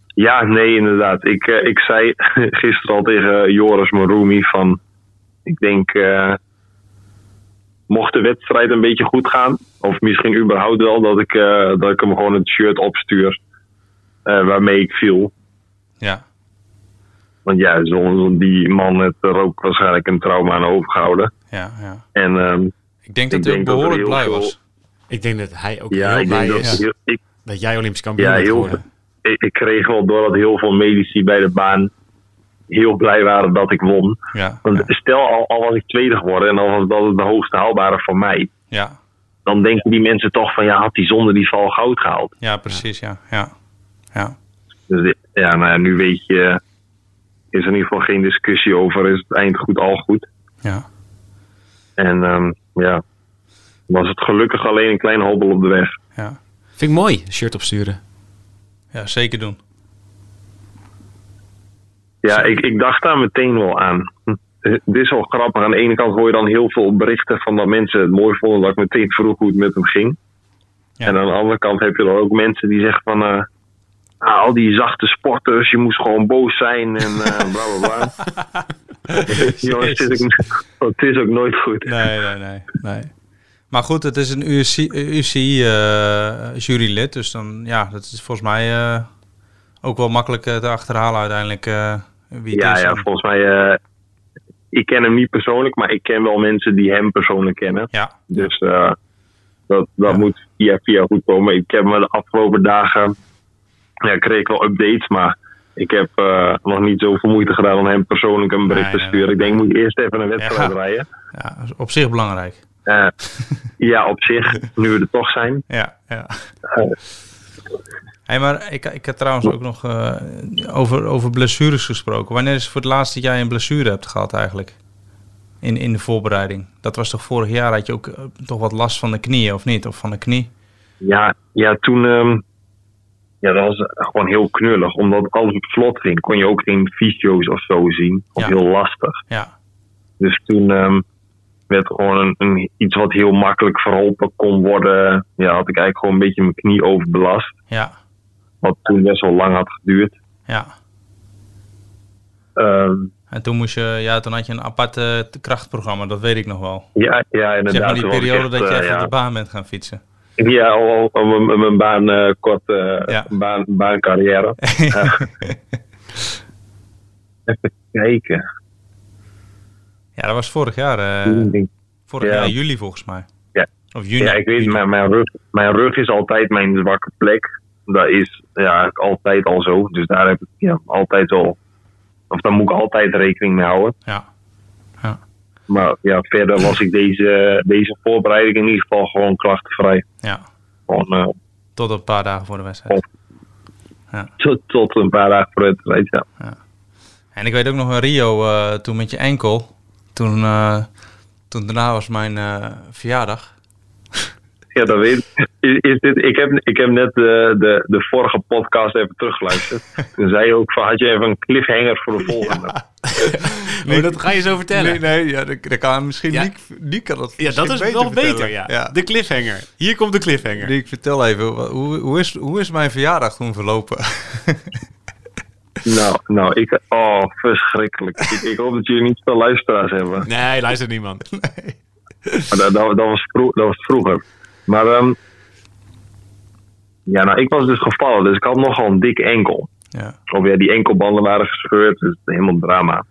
Speaker 7: ja, nee, inderdaad. Ik, eh, ik zei gisteren al tegen Joris Morumi van. Ik denk. eh, mocht de wedstrijd een beetje goed gaan. Of misschien überhaupt wel dat ik, eh, dat ik hem gewoon het shirt opstuur. eh, waarmee ik viel.
Speaker 5: Ja,
Speaker 7: Want ja, zonder die man heeft er ook waarschijnlijk een trauma aan overgehouden.
Speaker 5: ja, ja.
Speaker 7: En ehm,
Speaker 5: Ik denk dat
Speaker 7: Ik
Speaker 5: hij ook
Speaker 7: denk dat er
Speaker 5: behoorlijk
Speaker 7: heel
Speaker 5: blij
Speaker 7: veel-
Speaker 5: was.
Speaker 6: Ik denk dat hij ook
Speaker 7: ja,
Speaker 6: heel
Speaker 7: ik
Speaker 6: blij
Speaker 7: denk dat
Speaker 6: is
Speaker 7: heel- ik,
Speaker 6: dat jij Olympisch kampioen
Speaker 7: ja,
Speaker 6: bent
Speaker 7: heel,
Speaker 6: geworden.
Speaker 7: ik, ik kreeg wel door dat heel veel medici bij de baan heel blij waren dat ik won.
Speaker 5: Ja,
Speaker 7: Want
Speaker 5: ja,
Speaker 7: stel al, al was ik tweede geworden en al was dat het de hoogste haalbare voor mij.
Speaker 5: ja,
Speaker 7: Dan denken die mensen toch van ja, had hij zonder die val goud gehaald.
Speaker 5: ja, precies, ja, ja. Ja,
Speaker 7: Dus dit- ja, nou ja, nu weet je, eh, is er in ieder geval geen discussie over. Is het eind goed, al goed.
Speaker 5: ja.
Speaker 7: En ehm, ja, was het gelukkig alleen een klein hobbel op de weg.
Speaker 5: ja.
Speaker 6: Vind ik mooi, shirt opsturen.
Speaker 5: Ja, zeker doen.
Speaker 7: Ja, ik, ik dacht daar meteen wel aan. Hm. Het is wel grappig. Aan de ene kant hoor je dan heel veel berichten van dat mensen het mooi vonden dat ik meteen vroeg hoe het met hem ging.
Speaker 5: Ja.
Speaker 7: En aan de andere kant heb je dan ook mensen die zeggen van eh, ah, al die zachte sporters, je moest gewoon boos zijn en eh bla bla bla. Jongens, het is, ook, het is ook nooit goed.
Speaker 5: Nee, nee, nee. nee. Maar goed, het is een UC-jurylid, dus dan, ja, dat is volgens mij eh, ook wel makkelijk eh, te achterhalen uiteindelijk eh, wie het
Speaker 7: Ja,
Speaker 5: is.
Speaker 7: ja,
Speaker 5: En-
Speaker 7: volgens mij. eh, ik ken hem niet persoonlijk, maar ik ken wel mensen die hem persoonlijk kennen.
Speaker 5: ja,
Speaker 7: Dus eh, dat, dat moet via via goed komen. Ik heb me de afgelopen dagen. Ja, kreeg ik wel updates, maar ik heb eh, nog niet zoveel moeite gedaan om hem persoonlijk een bericht
Speaker 5: Nee,
Speaker 7: te
Speaker 5: nee,
Speaker 7: sturen.
Speaker 5: nee.
Speaker 7: Ik denk, moet ik eerst even een wedstrijd
Speaker 5: Ja.
Speaker 7: rijden.
Speaker 5: ja, is op zich belangrijk.
Speaker 7: Eh, ja, op zich, nu we er toch zijn.
Speaker 5: Ja, ja. Hey, maar ik, ik heb trouwens ook nog eh, over, over blessures gesproken. Wanneer is het voor het laatst dat jij een blessure hebt gehad eigenlijk? In, in de voorbereiding. Dat was toch vorig jaar had je ook eh, toch wat last van de knieën, of niet? Of van de knie?
Speaker 7: Ja, ja toen. ehm, ja, dat was gewoon heel knullig. Omdat alles op slot ging, kon je ook geen fysio's of zo zien. Of
Speaker 5: Ja.
Speaker 7: heel lastig.
Speaker 5: Ja,
Speaker 7: Dus toen ehm, werd gewoon een, een, iets wat heel makkelijk verholpen kon worden. Ja, had ik eigenlijk gewoon een beetje mijn knie overbelast.
Speaker 5: ja,
Speaker 7: Wat toen best wel lang had geduurd.
Speaker 5: ja.
Speaker 7: Ehm,
Speaker 5: En toen moest je, ja, toen had je een apart eh, krachtprogramma, dat weet ik nog wel.
Speaker 7: ja, ja, inderdaad.
Speaker 5: Zeg maar die
Speaker 7: toen was ik
Speaker 5: periode
Speaker 7: echt,
Speaker 5: dat jij
Speaker 7: eh,
Speaker 5: van
Speaker 7: ja,
Speaker 5: de baan bent gaan fietsen.
Speaker 7: Ja, al, al- al mijn, mijn baan, eh, kort, eh,
Speaker 5: Ja.
Speaker 7: baan, baancarrière. Even kijken.
Speaker 5: ja, dat was vorig jaar, eh, vorig
Speaker 7: Ja.
Speaker 5: jaar juli volgens mij.
Speaker 7: Ja.
Speaker 5: Of juni.
Speaker 7: ja, ik weet,
Speaker 5: juni.
Speaker 7: mijn, mijn, rug, mijn rug is altijd mijn zwakke plek. Dat is ja, altijd al zo. Dus daar heb ik ja, altijd al. Of daar moet ik altijd rekening mee houden.
Speaker 5: Ja,
Speaker 7: Maar ja, verder was ik deze, deze voorbereiding in ieder geval gewoon klachtenvrij.
Speaker 5: ja.
Speaker 7: Gewoon eh,
Speaker 5: Tot een paar dagen voor de wedstrijd.
Speaker 7: tot, tot een paar dagen voor het weet je.
Speaker 5: En ik weet ook nog een Rio eh, toen met je enkel. Toen, eh, toen daarna was mijn eh, verjaardag.
Speaker 7: Ja, dat weet ik. Is, is dit, ik, heb, ik heb net de, de, de vorige podcast even teruggeluisterd. Toen zei je ook van, had je even een cliffhanger voor de volgende?
Speaker 6: Maar dat ga je zo vertellen.
Speaker 5: Oh, Nee, nee, ja, dat, dat kan misschien
Speaker 6: Ja.
Speaker 5: Niek, Niek kan dat
Speaker 6: ja, dat is
Speaker 5: misschien
Speaker 6: wel beter.
Speaker 5: vertellen.
Speaker 6: Ja.
Speaker 5: ja.
Speaker 6: De cliffhanger. Hier komt de cliffhanger.
Speaker 5: Niek, vertel even, wa- hoe, hoe, is, hoe is mijn verjaardag toen verlopen?
Speaker 7: Nou, nou, ik... Oh, verschrikkelijk. Ik, ik hoop dat jullie niet veel luisteraars hebben.
Speaker 6: Nee, luistert niemand.
Speaker 7: Maar dat, dat, dat was vro- dat was vroeger. Maar ehm, Ja, nou, ik was dus gevallen, dus ik had nogal een dik enkel.
Speaker 5: Ja.
Speaker 7: Of ja, die enkelbanden waren gescheurd, dus helemaal drama.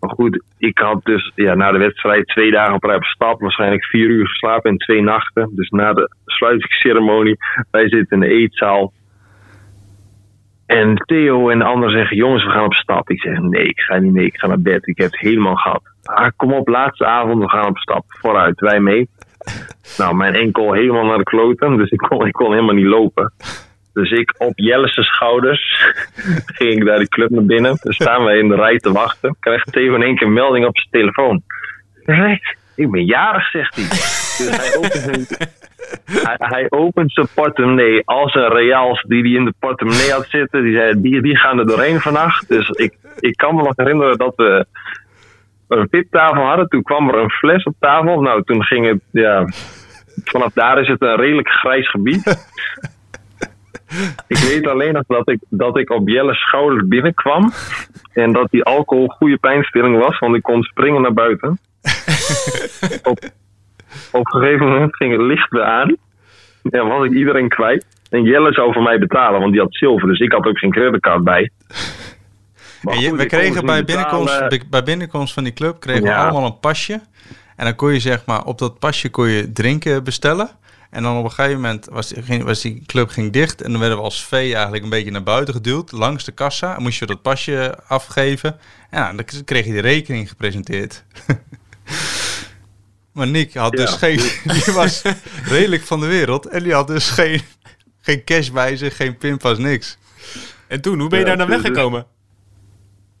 Speaker 7: Maar goed, ik had dus ja, na de wedstrijd twee dagen op rij op stap, waarschijnlijk vier uur geslapen en twee nachten. Dus na de sluitingsceremonie, wij zitten in de eetzaal. En Theo en de anderen zeggen, jongens, we gaan op stap. Ik zeg, nee, ik ga niet mee, ik ga naar bed. Ik heb het helemaal gehad. Ah, kom op, laatste avond, we gaan op stap. Vooruit, wij mee. Nou, mijn enkel helemaal naar de kloten, dus ik kon, ik kon helemaal niet lopen. Dus ik op Jelle's schouders ging ik daar die club naar binnen. Dan staan wij in de rij te wachten. Krijgt Theo in één keer een melding op zijn telefoon. Hij zegt, Ik ben jarig, zegt hij. Dus hij opent, zijn- hij, hij opent zijn portemonnee als een reals die hij in de portemonnee had zitten. Die, zei, die, die gaan er doorheen vannacht. Dus ik, ik kan me nog herinneren dat we een VIP-tafel hadden. Toen kwam er een fles op tafel. Nou, toen ging het, ja... Vanaf daar is het een redelijk grijs gebied. Ik weet alleen nog dat ik, dat ik op Jelle's schouders binnenkwam. En dat die alcohol goede pijnstilling was, want ik kon springen naar buiten. op, op een gegeven moment ging het licht weer aan. En was ik iedereen kwijt. En Jelle zou voor mij betalen, want die had zilver. Dus ik had ook geen creditcard bij. Maar
Speaker 5: En je- we
Speaker 7: goed, ik kon dus
Speaker 5: kregen
Speaker 7: niet
Speaker 5: bij binnenkomst,
Speaker 7: betalen.
Speaker 5: bij- bij binnenkomst van die club kregen we
Speaker 7: Ja.
Speaker 5: allemaal een pasje. En dan kon je zeg maar op dat pasje kon je drinken bestellen. En dan op een gegeven moment was die, ging- was die club ging dicht. En dan werden we als vee eigenlijk een beetje naar buiten geduwd. Langs de kassa. En moest je dat pasje afgeven. En ja, dan k- kreeg je de rekening gepresenteerd. maar Nick had dus
Speaker 7: Ja.
Speaker 5: geen... Die was redelijk van de wereld. En die had dus geen, geen cash bij zich. Geen pinpas, niks.
Speaker 6: En toen, hoe ben je
Speaker 7: Ja,
Speaker 6: daar dan
Speaker 7: dus-
Speaker 6: weggekomen?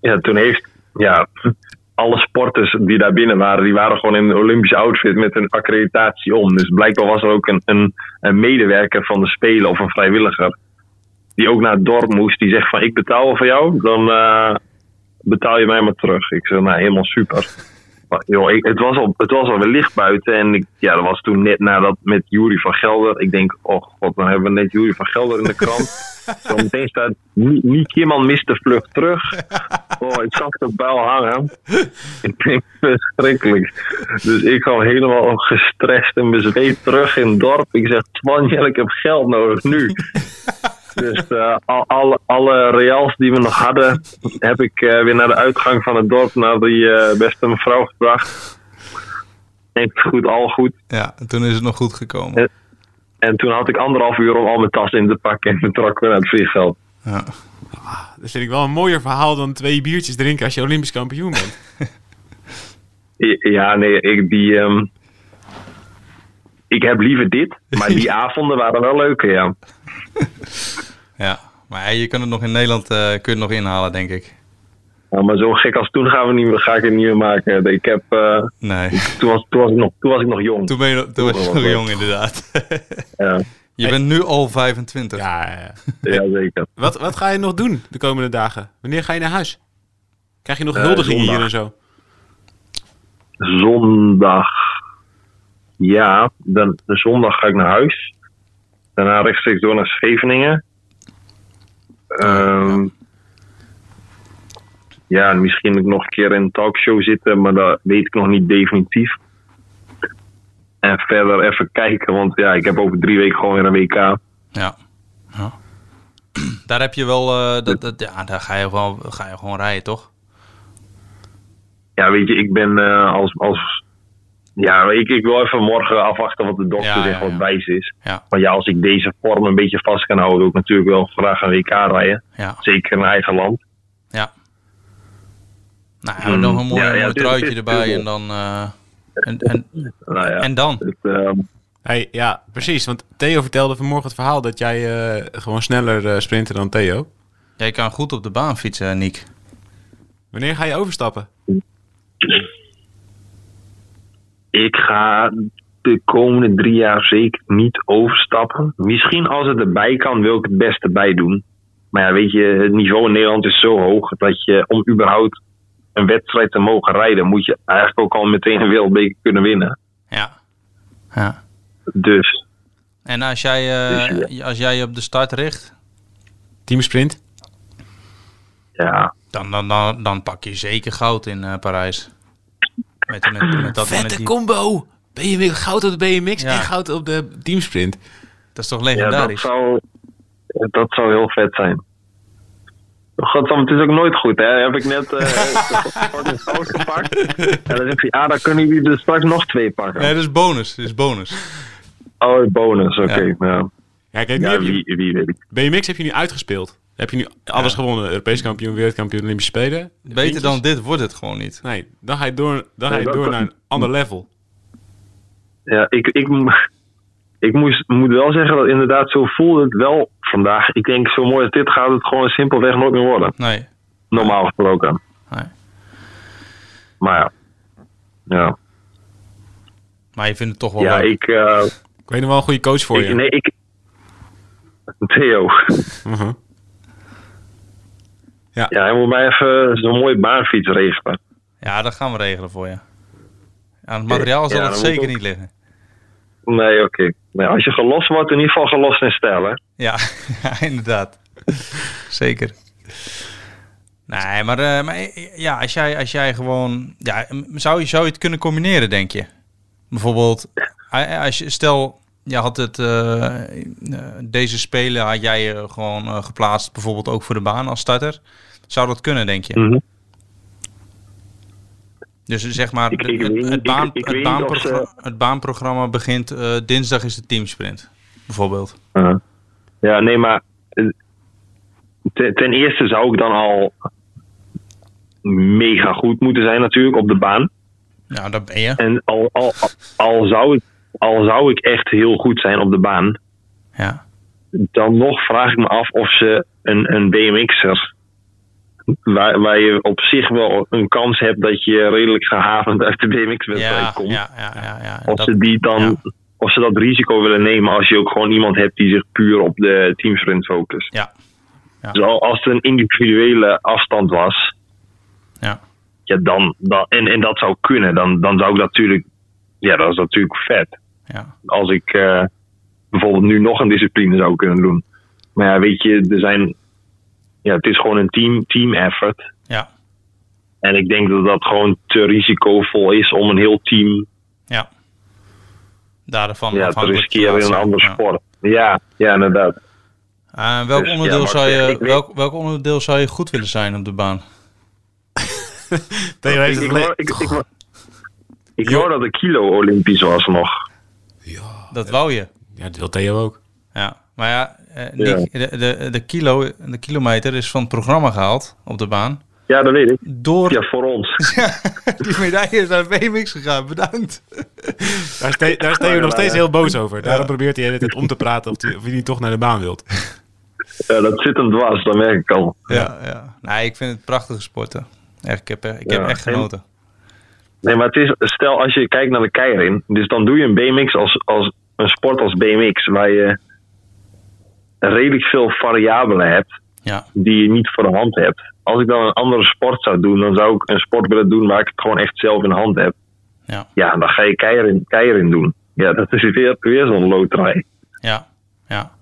Speaker 7: Ja, toen heeft... Ja, alle sporters die daar binnen waren, die waren gewoon in een Olympische outfit met een accreditatie om. Dus blijkbaar was er ook een, een, een medewerker van de Spelen of een vrijwilliger. Die ook naar het dorp moest. Die zegt van ik betaal voor jou, dan eh, betaal je mij maar terug. Ik zeg nou helemaal super. Maar, joh, ik- het, was al, het was al licht buiten. En ik, ja, dat was toen net nadat met Jury van Gelder. Ik denk, oh god, dan hebben we net Jury van Gelder in de krant. Zometeen staat, "Nie- Niek Kimman mist de vlucht terug. Oh, ik zag de bel hangen. Ik denk, verschrikkelijk. Dus ik kwam helemaal gestrest en bezweet terug in het dorp. Ik zeg, Twan, Jelle, ik heb geld nodig, nu. Dus eh, al, alle, alle reals die we nog hadden, heb ik eh, weer naar de uitgang van het dorp, naar die eh, beste mevrouw gebracht. Denk goed, al goed.
Speaker 5: Ja, en toen is het nog goed gekomen.
Speaker 7: Ja. En toen had ik anderhalf uur om al mijn tas in te pakken en toen trok we naar het vliegveld.
Speaker 5: Ja.
Speaker 6: Dat vind ik wel een mooier verhaal dan twee biertjes drinken als je Olympisch kampioen bent.
Speaker 7: Ja, nee, ik, die, ehm, ik heb liever dit, maar die avonden waren wel leuke, ja.
Speaker 5: Ja, maar ja, je kunt het nog in Nederland eh, kun je het nog inhalen, denk ik.
Speaker 7: Ja, maar zo gek als toen gaan we niet meer, ga ik het niet meer maken. Ik heb, eh,
Speaker 5: Nee,
Speaker 7: toen, was, toen, was ik nog, toen was ik nog jong.
Speaker 5: toen, ben je, toen was je nog jong inderdaad.
Speaker 7: Ja,
Speaker 5: Je bent nu al 25.
Speaker 6: Ja, ja, ja.
Speaker 7: ja, zeker.
Speaker 6: Wat, wat ga je nog doen de komende dagen? Wanneer ga je naar huis? Krijg je nog
Speaker 7: Eh,
Speaker 6: huldigingen hier
Speaker 7: zondag.
Speaker 6: en zo?
Speaker 7: zondag. Ja, dan, de zondag ga ik naar huis. Daarna rechtstreeks door naar Scheveningen. Ehm, ja, en misschien ook nog een keer in een talkshow zitten, maar dat weet ik nog niet definitief. En verder even kijken, want ja, ik heb over drie weken gewoon weer een WK.
Speaker 5: Ja. Ja. Daar heb je wel, eh, dat, dat, ja, daar ga je, wel, ga je gewoon rijden, toch?
Speaker 7: Ja, weet je, ik ben eh, als. als ja, ik, ik wil even morgen afwachten wat de dokter
Speaker 5: Ja,
Speaker 7: zegt,
Speaker 5: ja,
Speaker 7: wat
Speaker 5: ja.
Speaker 7: wijs is.
Speaker 5: Ja,
Speaker 7: Maar ja, als ik deze vorm een beetje vast kan houden, wil ik natuurlijk wel graag een WK rijden.
Speaker 5: ja,
Speaker 7: Zeker in eigen land.
Speaker 5: ja. Nou, hebben we nog een mooi,
Speaker 7: Mm, Ja, ja,
Speaker 5: mooi
Speaker 7: dit-
Speaker 5: truitje
Speaker 7: dit-
Speaker 5: erbij
Speaker 7: dit-
Speaker 5: en dan... eh, en, en,
Speaker 7: Nou ja,
Speaker 5: en dan?
Speaker 7: het, ehm,
Speaker 6: Hey, ja, precies. Want Theo vertelde vanmorgen het verhaal dat jij eh, gewoon sneller eh sprintte dan Theo.
Speaker 5: Jij kan goed op de baan fietsen, Niek.
Speaker 6: Wanneer ga je overstappen?
Speaker 7: ik ga de komende drie jaar zeker niet overstappen. Misschien als het erbij kan, wil ik het beste bij doen. Maar ja, weet je, het niveau in Nederland is zo hoog dat je om überhaupt een wedstrijd te mogen rijden, moet je eigenlijk ook al meteen een wereldbeker kunnen winnen.
Speaker 5: Ja. ja.
Speaker 7: Dus
Speaker 5: En als jij, eh,
Speaker 7: Dus
Speaker 5: als jij je op de start richt,
Speaker 6: Teamsprint?
Speaker 7: ja,
Speaker 5: dan, dan, dan, dan pak je zeker goud in eh, Parijs. Met, met, met dat, met
Speaker 6: Vette
Speaker 5: die-
Speaker 6: combo! Ben je goud op de BMX
Speaker 5: Ja.
Speaker 6: en goud op de teamsprint.
Speaker 5: Dat is toch
Speaker 7: Ja, dat
Speaker 5: legendarisch?
Speaker 7: zou, dat zou heel vet zijn. Godsam, het is ook nooit goed, hè? Heb ik net eh de fucking saus gepakt. En dan zeg je, ja, dan kunnen jullie er straks nog twee pakken.
Speaker 5: Nee, dat is bonus. Dat is bonus.
Speaker 7: Oh, bonus, oké.
Speaker 5: Ja.
Speaker 7: nou.
Speaker 6: Ja, kijk, nu
Speaker 7: Ja,
Speaker 6: heb je,
Speaker 7: wie, wie weet ik.
Speaker 6: BMX heb je nu uitgespeeld. Heb je nu alles gewonnen. Europees kampioen, wereldkampioen, Olympische Spelen.
Speaker 5: Beter dan dit wordt het gewoon niet.
Speaker 6: Nee, dan ga je door, dan ga
Speaker 7: Nee,
Speaker 6: je
Speaker 7: dat
Speaker 6: door
Speaker 7: kan-
Speaker 6: naar een ander level.
Speaker 7: Ja, ik, ik, mo- ik moest, moet wel zeggen dat inderdaad zo voelde het wel vandaag. Ik denk, zo mooi als dit gaat het gewoon simpelweg nooit meer worden.
Speaker 5: Nee.
Speaker 7: Normaal gesproken.
Speaker 5: nee.
Speaker 7: Maar ja. Ja,
Speaker 5: Maar je vindt het toch wel
Speaker 7: ja
Speaker 5: leuk.
Speaker 7: ik... eh,
Speaker 6: Ik weet nog wel een goede coach voor
Speaker 7: Ik-
Speaker 6: je.
Speaker 7: Nee, ik. Theo.
Speaker 6: Mhm. Ja.
Speaker 7: Ja, hij moet mij even zo'n mooie baanfiets regelen.
Speaker 5: Ja, dat gaan we regelen voor je. Aan het materiaal zal
Speaker 7: Ja,
Speaker 5: het
Speaker 7: dat moet
Speaker 5: zeker
Speaker 7: ook.
Speaker 5: niet liggen.
Speaker 7: Nee, oké. Nee, als je gelost wordt, in ieder geval gelost in stijl, hè?
Speaker 5: Ja, ja, inderdaad. Zeker. Nee, maar, eh, maar eh, ja, als jij, als jij gewoon... Ja, m- zou, je, zou je het kunnen combineren, denk je? Bijvoorbeeld, eh, als je, stel, je had het, eh, eh, deze spelen had jij je gewoon eh, geplaatst, bijvoorbeeld ook voor de baan als starter. Zou dat kunnen, denk je?
Speaker 7: Mhm.
Speaker 5: Dus zeg maar,
Speaker 7: Ik- ik
Speaker 5: het-
Speaker 7: weet-
Speaker 5: het,
Speaker 7: ik-
Speaker 5: baan,
Speaker 7: ik
Speaker 5: het,
Speaker 7: weet niet of ze-
Speaker 5: baanprogramma, het baanprogramma begint eh, dinsdag is de teamsprint, bijvoorbeeld.
Speaker 7: Ja. Eh, Ja, nee, maar. eh, Ten, ten eerste zou ik dan al. mega goed moeten zijn, natuurlijk, op de baan.
Speaker 5: Ja, daar ben je.
Speaker 7: En al, al, al, zou ik, al zou ik echt heel goed zijn op de baan.
Speaker 5: Ja.
Speaker 7: dan nog vraag ik me af of ze een, een BMX'er, waar, waar je op zich wel een kans hebt dat je redelijk gehavend uit de BMX-wedstrijd
Speaker 5: Ja,
Speaker 7: komt,
Speaker 5: ja, ja, ja, ja.
Speaker 7: of,
Speaker 5: Dat-
Speaker 7: ze die dan,
Speaker 5: ja.
Speaker 7: of ze dat risico willen nemen als je ook gewoon iemand hebt die zich puur op de teamsprint focust.
Speaker 5: Ja,
Speaker 7: Dus al- als het een individuele afstand was,
Speaker 5: ja.
Speaker 7: ja, dan, dan, en, en dat zou kunnen, dan, dan zou ik dat natuurlijk, ja, dat is natuurlijk vet.
Speaker 5: ja.
Speaker 7: als ik eh, bijvoorbeeld nu nog een discipline zou kunnen doen. Maar ja, weet je, er zijn, ja, het is gewoon een team, team effort.
Speaker 5: Ja,
Speaker 7: En ik denk dat dat gewoon te risicovol is om een heel team
Speaker 5: ja. Daarvan
Speaker 7: ja, te
Speaker 5: afhankelijk
Speaker 7: riskeren in
Speaker 5: laten
Speaker 7: een
Speaker 5: zijn.
Speaker 7: ander
Speaker 5: Ja.
Speaker 7: sport. Ja, ja, inderdaad.
Speaker 5: Eh, welk,
Speaker 7: Dus, ja,
Speaker 5: onderdeel
Speaker 7: maar
Speaker 5: zou
Speaker 7: ik-
Speaker 5: je,
Speaker 7: ik weet-
Speaker 5: welk, welk onderdeel zou je goed willen zijn op de baan?
Speaker 6: Theo
Speaker 7: Ik,
Speaker 6: heeft
Speaker 7: ik,
Speaker 6: het le-
Speaker 7: hoor- ik, ik, hoor- ik hoor dat de kilo Olympisch was nog.
Speaker 5: Dat wou je.
Speaker 6: Ja, dat wil Theo ook.
Speaker 5: Ja. Maar ja, eh, Nick, De, de, de, kilo, de kilometer is van het programma gehaald op de baan.
Speaker 7: Ja, dat weet ik.
Speaker 5: Door
Speaker 7: Ja, voor ons.
Speaker 5: die medaille is naar BMX gegaan. Bedankt.
Speaker 6: Daar is, Theo- daar is Theo nog steeds heel boos over. Daarom probeert hij de hele tijd om te praten of hij, of hij niet toch naar de baan wilt.
Speaker 7: Ja, dat zit hem dwars, dat merk ik al.
Speaker 5: Ja, ja. Nee, ik vind het prachtige sporten. Echt, ik heb, eh, ik heb
Speaker 7: Ja,
Speaker 5: echt
Speaker 7: en-
Speaker 5: genoten.
Speaker 7: Nee, maar het is, stel als je kijkt naar de keirin, dus dan doe je een BMX als, als een sport als BMX, waar je redelijk veel variabelen hebt
Speaker 5: Ja,
Speaker 7: die je niet voor de hand hebt. Als ik dan een andere sport zou doen, dan zou ik een sport willen doen waar ik het gewoon echt zelf in de hand heb.
Speaker 5: ja,
Speaker 7: Ja, dan ga je keirin, keirin doen. Ja, dat is weer, weer zo'n loterij.
Speaker 5: ja, ja.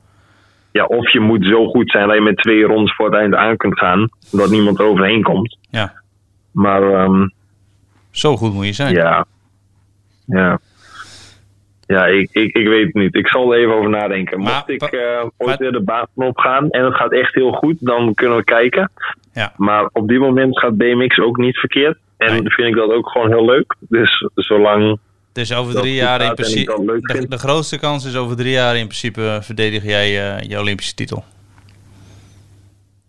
Speaker 7: Ja, of je moet zo goed zijn dat je met twee rondes voor het eind aan kunt gaan, dat niemand er overheen komt.
Speaker 5: ja.
Speaker 7: Maar ehm,
Speaker 5: Zo goed moet je zijn.
Speaker 7: Ja. Ja. Ja, ik, ik, ik weet het niet. Ik zal er even over nadenken.
Speaker 5: Maar-
Speaker 7: Mocht ik
Speaker 5: maar-
Speaker 7: eh,
Speaker 5: maar-
Speaker 7: ooit weer de baan opgaan en het gaat echt heel goed, dan kunnen we kijken.
Speaker 5: Ja.
Speaker 7: Maar op dit moment gaat BMX ook niet verkeerd. En
Speaker 5: Nee.
Speaker 7: vind ik dat ook gewoon heel leuk. Dus zolang...
Speaker 5: Dus over
Speaker 7: dat
Speaker 5: drie
Speaker 7: goed
Speaker 5: jaar in
Speaker 7: gaat en ik dat
Speaker 5: principe.
Speaker 7: leuk
Speaker 5: De,
Speaker 7: vind.
Speaker 5: de grootste kans is over drie jaar in principe eh, verdedig jij eh, je Olympische titel.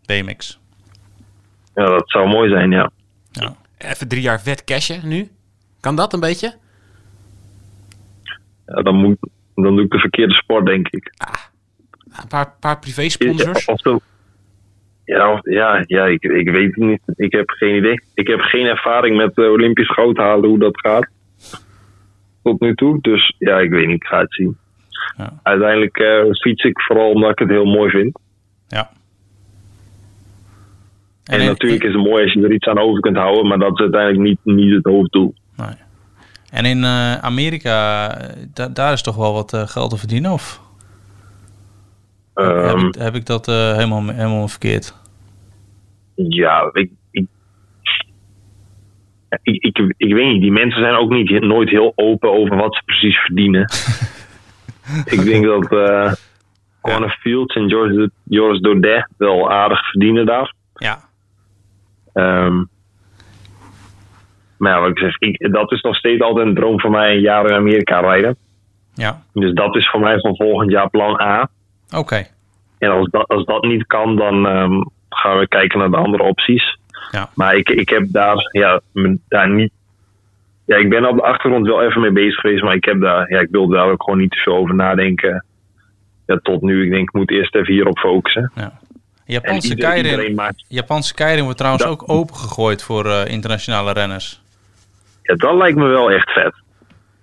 Speaker 5: BMX.
Speaker 7: Ja, dat zou mooi zijn, ja.
Speaker 6: Even drie jaar vet cashen nu. Kan dat een beetje?
Speaker 7: ja dan, moet, dan doe ik de verkeerde sport, denk ik.
Speaker 6: Een paar, paar privé-sponsors.
Speaker 7: Ja, of zo. Ja, of- ja, ja ik, ik weet het niet. Ik heb geen idee. Ik heb geen ervaring met eh, Olympisch goud halen, hoe dat gaat. Tot nu toe. Dus ja, ik weet niet. Ik ga het zien.
Speaker 5: Ja.
Speaker 7: Uiteindelijk eh, fiets ik vooral omdat ik het heel mooi vind.
Speaker 5: Ja.
Speaker 7: En, natuurlijk is het mooi als je er iets aan over kunt houden, maar dat is uiteindelijk niet, niet het hoofddoel.
Speaker 5: Nee. En in eh, Amerika, eh, da- daar is toch wel wat eh, geld te verdienen? Of heb,
Speaker 7: Ehm,
Speaker 5: ik, heb ik dat eh, helemaal, helemaal verkeerd?
Speaker 7: ja, ik, ik, ik, ik, ik weet niet. Die mensen zijn ook niet, nooit heel open over wat ze precies verdienen. ik denk dat, eh, Connor Fields en Joris, Joris Daudet wel aardig verdienen daar.
Speaker 5: Ja.
Speaker 7: Ehm, maar ja, wat ik zeg, ik, dat is nog steeds altijd een droom van mij, een jaar in Amerika rijden.
Speaker 5: Ja.
Speaker 7: Dus dat is voor mij van volgend jaar plan A.
Speaker 5: Oké.
Speaker 7: En als dat, als dat niet kan, dan ehm, gaan we kijken naar de andere opties.
Speaker 5: Ja.
Speaker 7: Maar ik, ik heb daar, ja, me- daar niet... Ja, ik ben op de achtergrond wel even mee bezig geweest, maar ik, heb daar, ja, ik wil daar ook gewoon niet te veel over nadenken. Ja, tot nu, ik denk, ik moet eerst even hierop focussen. En
Speaker 5: Japanse
Speaker 7: ieder-
Speaker 5: keirin.
Speaker 7: iedereen maakt...
Speaker 5: Japanse keirin wordt trouwens
Speaker 7: Dat-
Speaker 5: ook opengegooid voor eh, internationale renners.
Speaker 7: Ja, dat lijkt me wel echt vet.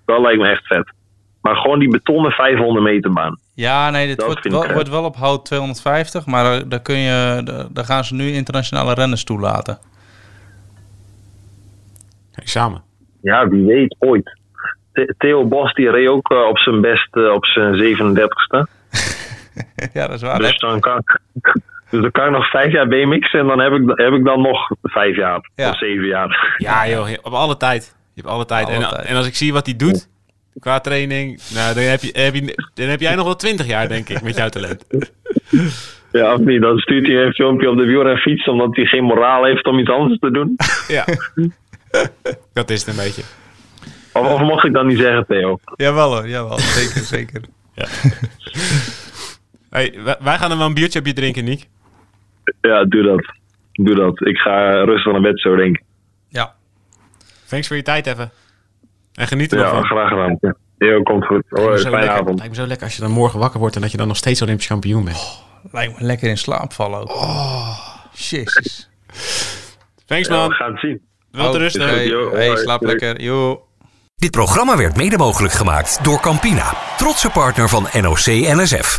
Speaker 7: Dat lijkt me echt vet. Maar gewoon die betonnen 500 meter baan.
Speaker 5: Ja, nee, dit
Speaker 7: Dat
Speaker 5: wordt
Speaker 7: vind
Speaker 5: wel,
Speaker 7: ik, eh,
Speaker 5: wordt wel op hout 250, maar eh, daar- daar, kun je, daar, daar gaan ze nu internationale renners toelaten.
Speaker 6: Examen.
Speaker 7: Ja, wie weet ooit. The- Theo Bos die reed ook eh, op zijn best eh, op zijn 37ste.
Speaker 5: ja, dat
Speaker 6: Ah,
Speaker 5: is waar.
Speaker 7: Dus dan, kan ik, dus dan kan ik nog vijf jaar BMX en dan heb ik, heb ik dan nog vijf jaar
Speaker 5: Ja.
Speaker 7: of zeven jaar.
Speaker 6: Ja, joh, je- op alle tijd. Je hebt alle tijd.
Speaker 5: Alle
Speaker 6: en,
Speaker 5: tijd.
Speaker 6: en als ik zie wat hij doet qua training, nou, dan, heb je, heb je, dan heb jij nog wel twintig jaar, denk ik, met jouw talent.
Speaker 7: Ja, of niet? Dan stuurt hij een filmpje op de wielrenfiets omdat hij geen moraal heeft om iets anders te doen.
Speaker 6: Ja. Dat is het een beetje.
Speaker 7: Of, of mocht ik dat niet zeggen, Theo?
Speaker 5: Jawel hoor, jawel. Zeker, zeker.
Speaker 6: Hey, wij- wij gaan er wel een biertje op je drinken, Niek.
Speaker 7: Ja, doe dat. Doe dat. Ik ga rustig naar bed zo, denk ik.
Speaker 5: Ja,
Speaker 6: Thanks voor je tijd even. En geniet er nog
Speaker 7: Ja,
Speaker 6: van.
Speaker 7: graag gedaan. Ja. Theo, komt goed. Hoi,
Speaker 6: Zo
Speaker 7: fijne
Speaker 6: lekker-
Speaker 7: avond.
Speaker 6: Lijkt me zo lekker als je dan morgen wakker wordt en dat je dan nog steeds Olympisch kampioen bent.
Speaker 5: lijkt me lekker in slaap vallen ook. Oh, jezus.
Speaker 6: Thanks
Speaker 7: Ja, we
Speaker 6: man,
Speaker 7: gaan het zien.
Speaker 6: wel te rusten.
Speaker 5: Hey,
Speaker 7: Yo,
Speaker 5: hey,
Speaker 7: hoi.
Speaker 5: slaap
Speaker 7: Doei.
Speaker 5: lekker. Yo.
Speaker 2: Dit programma werd mede mogelijk gemaakt door Campina, trotse partner van NOC NSF.